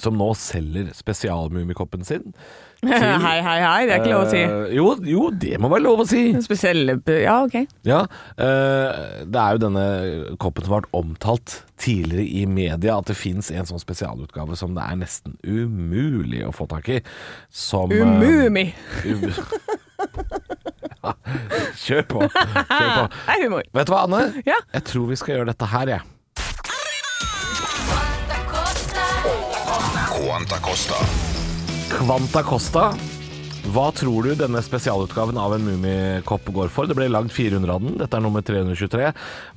som nå selger spesialmummikoppen sin.
Hei, hei, hei. Det er ikke lov å si.
Eh, jo, jo, det må være lov å si.
Spesielle Ja, ok.
Ja, eh, det er jo denne koppen som har vært omtalt tidligere i media, at det fins en sånn spesialutgave som det er nesten umulig å få tak i. Som eh,
Umumi.
um- Ja, Kjør på. Kjør på.
Det er humor.
Vet du hva, Anne?
Ja.
Jeg tror vi skal gjøre dette her, jeg.
Quanta Costa.
Kvanta Costa. Hva tror du denne spesialutgaven av en Mummikopp går for? Det ble lagd 400 av den. Dette er nummer 323.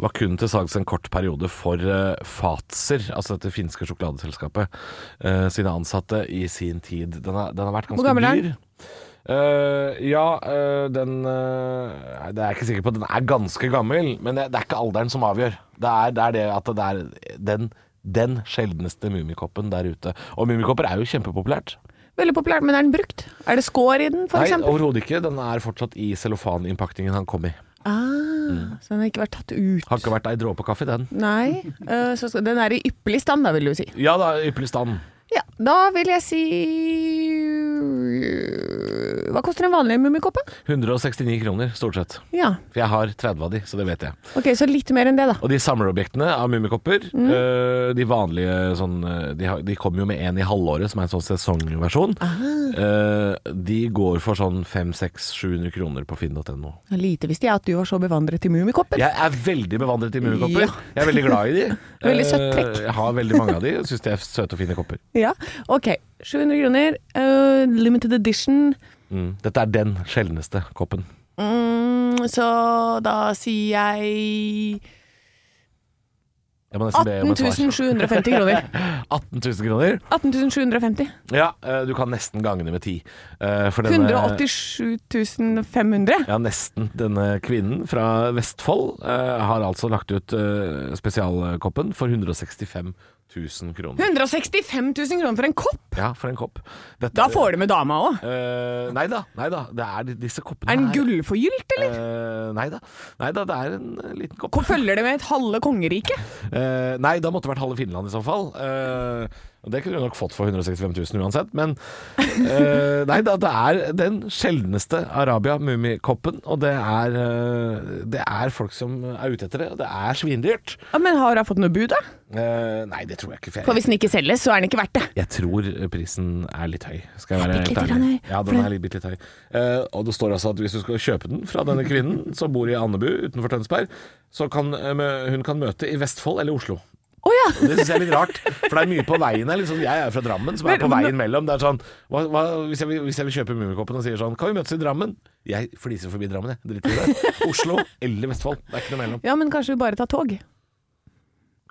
Var kun til salgs en kort periode for eh, Fatser, altså dette finske sjokoladeselskapet, eh, sine ansatte i sin tid. Den har, den har vært ganske
gammel er den?
dyr. Eh, ja, eh, den eh, nei, Det er jeg ikke sikker på. Den er ganske gammel, men det, det er ikke alderen som avgjør. Det er det, er det at det er den, den sjeldneste Mummikoppen der ute. Og Mummikopper er jo kjempepopulært.
Veldig populært, men er den brukt? Er det skår i den, for
Nei,
eksempel?
overhodet ikke. Den er fortsatt i cellofaninnpakningen han kom i.
Ah, så den har ikke vært tatt ut?
Mm. Har ikke vært ei dråpe kaffe, den.
Nei. eh, så skal, den er i ypperlig stand, da, vil du si.
Ja da, ypperlig stand.
Ja, da vil jeg si Hva koster en vanlig mummikoppe?
169 kroner, stort sett.
Ja.
For jeg har 30 av de, så det vet jeg.
Ok, så litt mer enn det, da.
Og de samlerobjektene av mummikopper,
Mm.
øh, de vanlige sånn øh, De, har- de kommer jo med en i halvåret, som er en sånn sesongversjon. Eh, de går for sånn 500-700 kroner på finn.no.
Lite visste jeg at du var så bevandret i mummikopper.
Jeg er veldig bevandret i mummikopper.
Ja.
Jeg er veldig glad i de.
Veldig søtt trekk.
Eh, Jeg har veldig mange av de. Syns de er søte og fine kopper.
Ja. Ok, 700 kroner. eh, limited edition.
Mm. Dette er den sjeldneste koppen.
Mm, så da sier jeg
Jeg må nesten be om
18
et svar.
750 kroner.
18 000 kroner.
18 750.
Ja, eh, du kan nesten gange det med ti. Eh, For denne,
187 500.
Ja, nesten. Denne kvinnen fra Vestfold eh, har altså lagt ut eh, spesialkoppen for 165 000 kroner.
165 000 kroner for en kopp!
Ja, for en kopp. Dette-
Da får du med dama òg.
Eh, nei da, nei da. Det er de- disse koppene
Er den
her.
gullforgylt, eller?
Eh, nei da. Nei da, det er en eh, liten kopp.
Hvor følger det med et halve kongerike?
Eh, nei, da måtte det vært halve Finland i så fall. Eh, og det kunne du nok fått for 165 000 uansett. Men eh, nei da, det er den sjeldneste Arabia-mummikoppen. Og det er, eh, det er folk som er ute etter det, og det er svindyrt.
Ja, men har hun fått noe bud, da?
Eh, nei, det tror jeg ikke. for
For
Jeg,
hvis den ikke selges, så er den ikke verdt det.
jeg tror prisen er litt høy, skal jeg være
Bitte
helt
litt
ærlig.
høy.
Ja, den er litt, bitte litt høy. Eh, og det står altså at hvis du skal kjøpe den fra denne kvinnen som bor i Andebu utenfor Tønsberg, så kan eh, mø- hun kan møte i Vestfold eller Oslo.
Å ja!
Det syns jeg er litt rart, for det er mye på veien her. Liksom, jeg er fra Drammen, som er på veien mellom. Det er sånn, hva, hva, hvis, jeg, vil- hvis jeg vil kjøpe Mummikoppen og sier sånn Kan vi møtes i Drammen? Jeg fliser forbi Drammen, jeg. Driter i det. Oslo eller Vestfold. Det er ikke noe mellom.
Ja, men kanskje vi bare tar tog?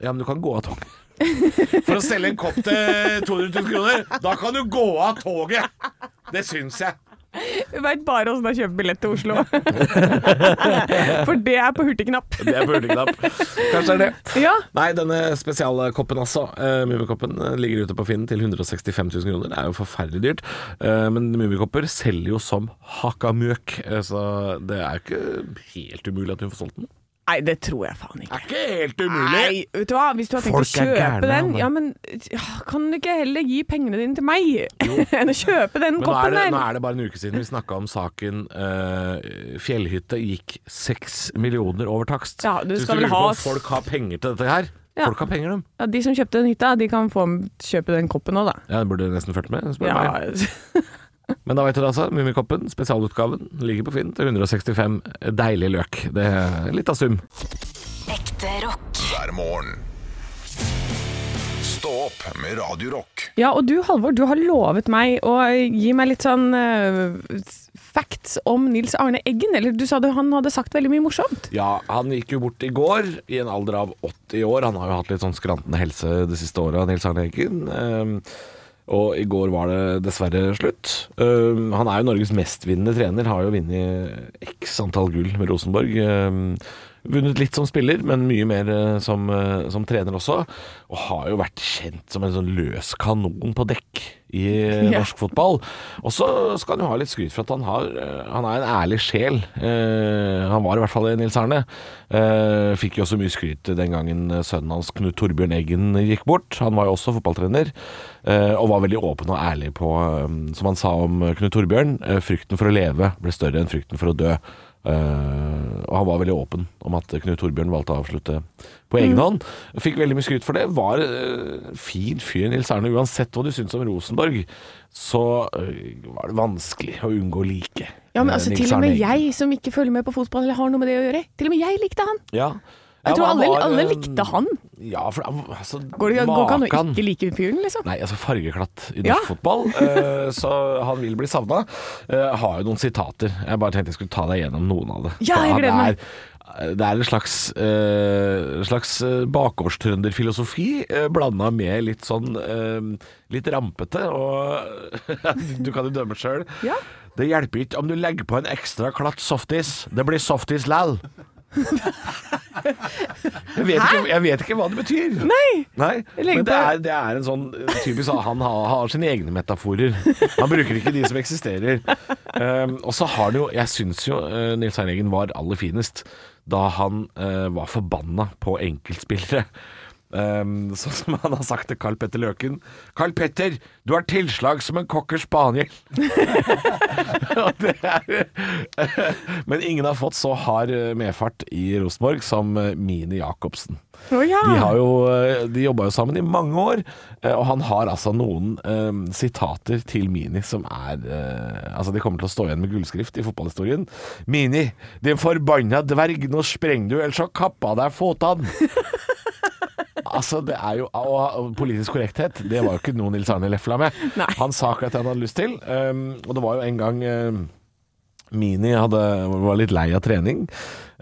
Ja, men du kan gå av toget. For å selge en kopp til 200 000 kroner, da kan du gå av toget! Det syns jeg.
Vi veit bare åssen det er å kjøpe billett til Oslo. For det er på hurtigknapp.
Det er puleknapp. Kanskje det er det.
Ja.
Nei, denne spesialkoppen altså, eh, Mummikoppen, eh, ligger ute på Finn til 165 000 kroner. Det er jo forferdelig dyrt. Eh, men mummikopper selger jo som hakka mjøk, eh, så det er jo ikke helt umulig at hun får solgt den.
Nei, det tror jeg faen ikke.
er ikke helt
Nei, vet du hva? Hvis du har tenkt
Folk
å
er
kjøpe
gærne,
den,
Anne.
ja, men ja, kan du ikke heller gi pengene dine til meg enn å kjøpe
Men nå er,
den koppen
det, nå
der?
er det bare en uke siden vi snakka om saken eh, Fjellhytte gikk seks millioner over takst.
Ja,
Så
du
hvis
skal vel
lurer
ha
på om
s-
Folk har penger til dette her.
Ja.
Folk har penger, dem.
Ja, de som kjøpte den hytta, de kan få kjøpe den koppen òg, da.
Ja, det burde nesten fulgt med. spør du
Ja,
meg. Men da vet dere altså, Mummikoppen, spesialutgaven, ligger på Finn til 165 deilig løk. Det er litt av sum.
Ekte rock.
hver morgen. Stå opp med Radio Rock.
ja og du Halvor, du har lovet meg å gi meg litt sånn eh, facts om Nils Arne Eggen. Eller du sa det, han hadde sagt veldig mye morsomt.
Ja, han gikk jo bort i går, i en alder av 80 år. Han har jo hatt litt sånn skrantende helse det siste året, Nils Arne Eggen. Ehm, og i går var det dessverre slutt. Ehm, han er jo Norges mestvinnende trener, har jo vunnet x antall gull med Rosenborg. Ehm, vunnet litt som spiller, men mye mer eh, som, eh, som trener også. Og har jo vært kjent som en sånn løs kanon på dekk i eh,
Ja.
norsk norsk fotball. Og så skal han jo ha litt skryt for at han, har, eh, han er en ærlig sjel. Eh, han var i hvert fall det, Nils Arne. Eh, fikk jo også mye skryt den gangen sønnen hans, Knut Torbjørn Eggen, gikk bort. Han var jo også fotballtrener, eh, og var veldig åpen og ærlig på, eh, som han sa om Knut Torbjørn, eh, frykten for å leve ble større enn frykten for å dø. Eh, og han var veldig åpen om at Knut Torbjørn valgte å avslutte på
Mm.
egen hånd. Fikk veldig mye skryt for det. Var eh, fin fyr, Nils Arne. Uansett hva du syns om Rosenborg, så eh, var det vanskelig å unngå å like.
Ja, men
eh,
altså,
Nils
Til og
Arne
med
Eggen.
jeg som ikke følger med på fotball eller har noe med det å gjøre, til og med jeg likte han.
ja.
Jeg
Ja,
tror
han
alle,
var,
alle
eh,
likte han.
Ja, for han- altså,
Går det går ikke an å
makan.
ikke like fyren, liksom?
Nei, altså fargeklatt i norsk
Ja.
fotball. eh, så han vil bli savna. Eh, har jo noen sitater. Jeg bare tenkte jeg skulle ta deg gjennom noen av det.
Ja,
For
jeg
han
gleder meg.
er- Det er en slags, uh, slags eh, bakgårdstrønderfilosofi uh, blanda med litt sånn eh, litt rampete, og du kan jo dømme sjøl.
Ja.
Det hjelper ikke om du legger på en ekstra klatt softis. Det blir softis læll. Jeg vet, ikke, jeg vet ikke hva det betyr.
Nei.
Nei,
Jeg legger
men det
på-
er, det er en sånn eh, typisk sånn, Han har, har sine egne metaforer. Han bruker ikke de som eksisterer. Um, og så har det jo Jeg syns jo eh, Nils Arne Eggen var aller finest da han eh, var forbanna på enkeltspillere. Um, sånn som han har sagt til Carl Petter Løken. 'Carl Petter, du har tilslag som en cocker spaniel'. Og det er, men ingen har fått så hard eh, medfart i Rosenborg som eh, Mini Jacobsen.
Å ja.
De, har jo, eh, de jobba jo sammen i mange år, eh, og han har altså noen eh, sitater til Mini som er eh, Altså, de kommer til å stå igjen med gullskrift i fotballhistorien. Mini, din forbanna dverg, nå sprenger du, ellers så kappa deg fotene. Altså, det er jo Og og politisk korrekthet, det var jo ikke noe Nils Arne lefla med.
Nei.
Han sa akkurat det han hadde lyst til, ehm, og det var jo en gang ehm, Mini hadde, var litt lei av trening,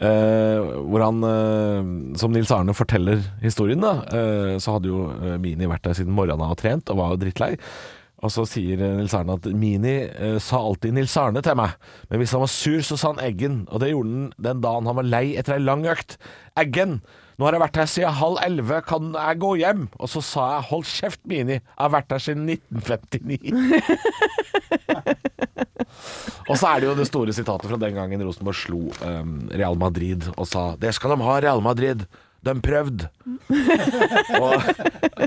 eh, hvor han, eh, som Nils Arne forteller historien, da, eh, så hadde jo eh, Mini vært der siden morgenen av og trent, og var jo drittlei. Og så sier eh, Nils Arne at Mini eh, sa alltid Nils Arne til meg, men hvis han var sur, så sa han Eggen, og det gjorde han den dagen han var lei etter ei lang økt. Eggen, nå har jeg vært her siden halv elleve, kan jeg gå hjem? Og så sa jeg hold kjeft, Mini, jeg har vært her siden 1959. Og så er det jo det store sitatet fra den gangen Rosenborg slo ehm, Real Madrid og sa Det skal de ha, Real Madrid. De prøvde. og,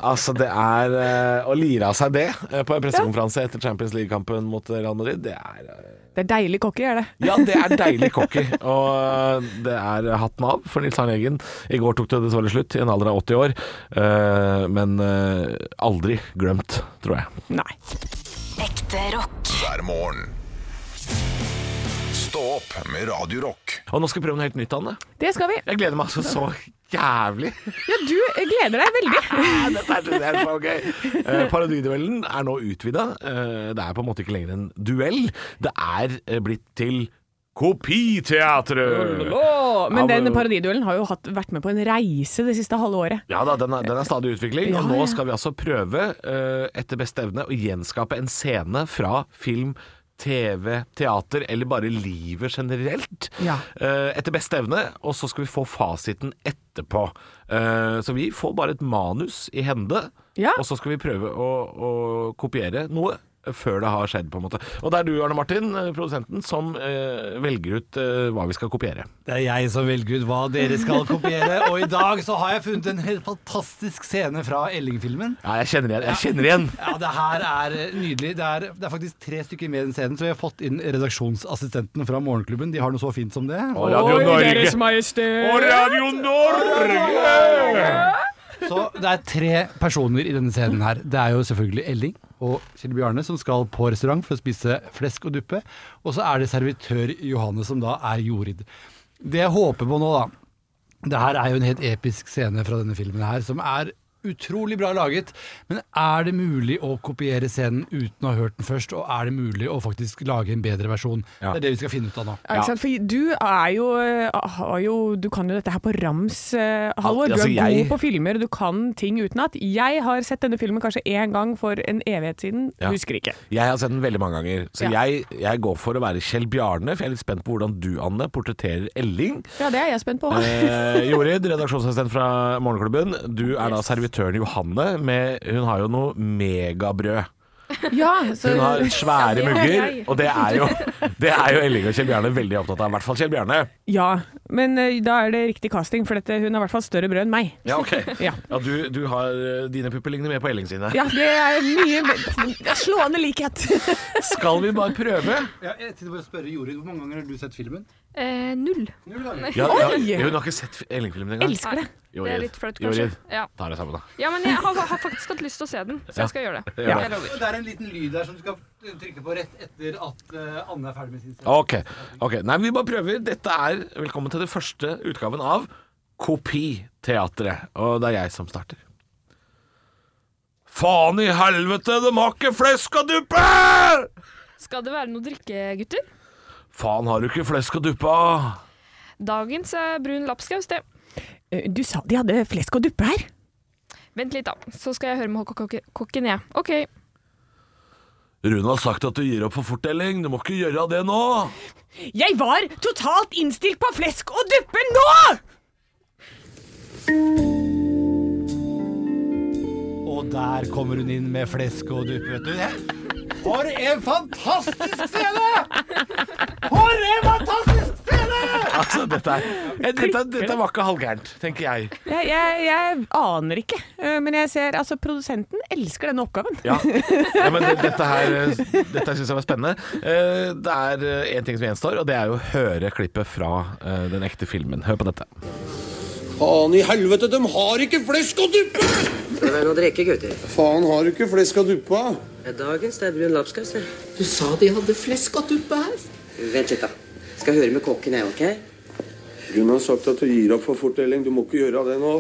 altså, det er eh, Å lire av seg det eh, på en pressekonferanse etter Champions League-kampen mot Real Madrid, det er eh,
Det er deilig cocky, er det.
ja, det er deilig cocky. Og eh, det er hatten av for Nils Arne Eggen. I går tok det dessverre slutt, i en alder av 80 år. Eh, men eh, aldri glemt, tror jeg.
Nei.
Ekte rock.
Hver morgen. Stå opp med Radio Rock.
Og nå skal vi prøve noe helt nytt, Anne.
Det skal vi.
Jeg gleder meg altså så jævlig.
Ja, du gleder deg veldig.
Ja, Dette er, det er så gøy. Eh, parodiduellen er nå utvida. Eh, det er på en måte ikke lenger en duell. Det er eh, blitt til Kopiteatret!
Åh, men
Ja,
den
men-
parodiduellen har jo hatt, vært med på en reise det siste halve året.
Ja da, den er, den er stadig i utvikling.
Ja,
og nå
ja.
skal vi altså prøve, eh, etter beste evne, å gjenskape en scene fra film, TV, teater eller bare livet generelt.
Ja.
Eh, etter beste evne, og så skal vi få fasiten etterpå. Eh, så vi får bare et manus i hende,
Ja.
og så skal vi prøve å, å kopiere noe. før det har skjedd, på en måte. Og det er du, Arne Martin, eh, produsenten, som eh, velger ut eh, hva vi skal kopiere.
Det er jeg som velger ut hva dere skal kopiere. Og i dag så har jeg funnet en helt fantastisk scene fra Elling-filmen.
Ja, jeg kjenner igjen. Jeg kjenner igjen.
Ja, det her er eh, nydelig. Det er, det er faktisk tre stykker med i den scenen, så vi har fått inn redaksjonsassistentene fra Morgenklubben. De har noe så fint som det.
Og Radio Norge. Og
Majestet!
Radio Norge!
Så det er tre personer i denne scenen her. Det er jo selvfølgelig Elling og Kjell Bjarne som skal på restaurant for å spise flesk og duppe. Og så er det servitør Johanne som da er Jorid. Det jeg håper på nå, da Det her er jo en helt episk scene fra denne filmen her, som er utrolig bra laget. Men er det mulig å kopiere scenen uten å ha hørt den først? Og er det mulig å faktisk lage en bedre versjon?
Ja.
Det er det vi skal finne ut av nå.
Ja. ikke sant? For du er jo, eh, har jo Du kan jo dette her på rams, eh, Halvor. Du
Altså,
er
jeg-
god på filmer, du kan ting utenat. Jeg har sett denne filmen kanskje én gang for en evighet siden.
Ja.
Husker ikke.
Jeg har sett den veldig mange ganger, så
Ja.
jeg, jeg går for å være Kjell Bjarne. For jeg er litt spent på hvordan du, Anne, portretterer Elling.
Ja, det er jeg spent på.
Eh, Jorid, redaksjonsassistent fra Morgenklubben. Du er da servitøren Johanne. Med, hun har jo noe megabrød.
Ja, så,
Hun har svære
Ja, det har
mugger,
jeg.
og det er jo, det er jo Elling og Kjell Bjarne veldig opptatt av. I hvert fall Kjell Bjarne.
ja, men eh, da er det riktig casting, for dette, hun er i hvert fall større brød enn meg.
Ja, ok.
Ja.
du, du har eh, dine pupper ligner mer på Elling sine.
Ja, det er mye det er slående likhet.
Skal vi bare prøve?
Ja, jeg tenkte bare å spørre Jorid, Hvor mange ganger har du sett filmen?
Eh, null.
Ja, ja,
Oi!
hun har ikke sett Elling-filmen engang.
Elsker det. Det
Jorid.
er litt flaut, kanskje.
Jorid.
Ja.
Ta det sammen, da.
ja, men jeg har, har faktisk hatt lyst til å se den, så jeg skal gjøre det.
Ja.
Jeg lover.
Det er en liten lyd der som du skal trykke på rett etter at eh, Anne er ferdig med sin
Ok. ok. Nei, vi bare prøver. Dette er Velkommen til det første utgaven av Kopiteatret. Og det er jeg som starter. Faen i helvete, de har ikke flesk og duppe!
Skal det være noe drikke, gutter?
Faen, har du ikke flesk og duppe? av?
Dagens er brun lapskaus, det.
Eh, Du sa de hadde flesk og duppe her.
Vent litt, da. Så skal jeg høre med hokk- hokk- kokken, jeg. OK.
Rune har sagt at du gir opp for fort, Elling. Du må ikke gjøre det nå.
Jeg var totalt innstilt på flesk og duppe nå!
Og der kommer hun inn med flesk og dupp, vet du. For en fantastisk scene! For en fantastisk scene!
Altså, dette, er, eh, dette, dette var ikke halvgærent, tenker jeg.
Jeg, jeg, jeg aner ikke, eh, men jeg ser altså produsenten elsker denne oppgaven.
Ja, ja men det- dette her eh, Dette syns jeg var spennende. Eh, Det er én ting som gjenstår, og det er jo å høre klippet fra eh, den ekte filmen. Hør på dette.
Faen i helvete, de har ikke flesk å duppe!
Skal det være noe å drikke, gutter?
Faen, har du ikke flesk å duppe av?
Det er dagens, det er brun lapskaus. det.
Du sa de hadde flesk og duppe her.
Vent litt, da. Skal høre med kokken, jeg, OK?
Hun har sagt at du gir opp for fort, Elling. Du må ikke gjøre det nå.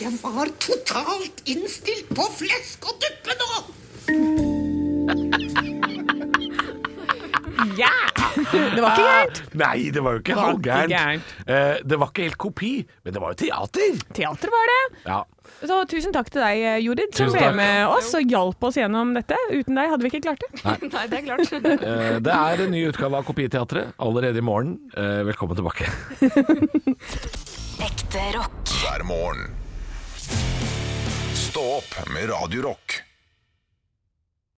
Jeg var totalt innstilt på flesk og duppe nå!
Ja! Det var ikke gærent.
Ah, Nei, det var jo ikke
var ikke
halvgærent.
gærent.
Eh, Det var ikke helt kopi, men det var jo teater.
Teater var det.
Ja.
Så tusen takk til deg, Jorid, som
Tusen
ble
takk.
med oss og hjalp oss gjennom dette. Uten deg hadde vi ikke klart det.
Nei, det er klart.
Eh, Det er en ny utgave av Kopiteatret allerede i morgen. Eh, Velkommen tilbake.
Ekte rock.
hver morgen. Stå opp med Radio Rock.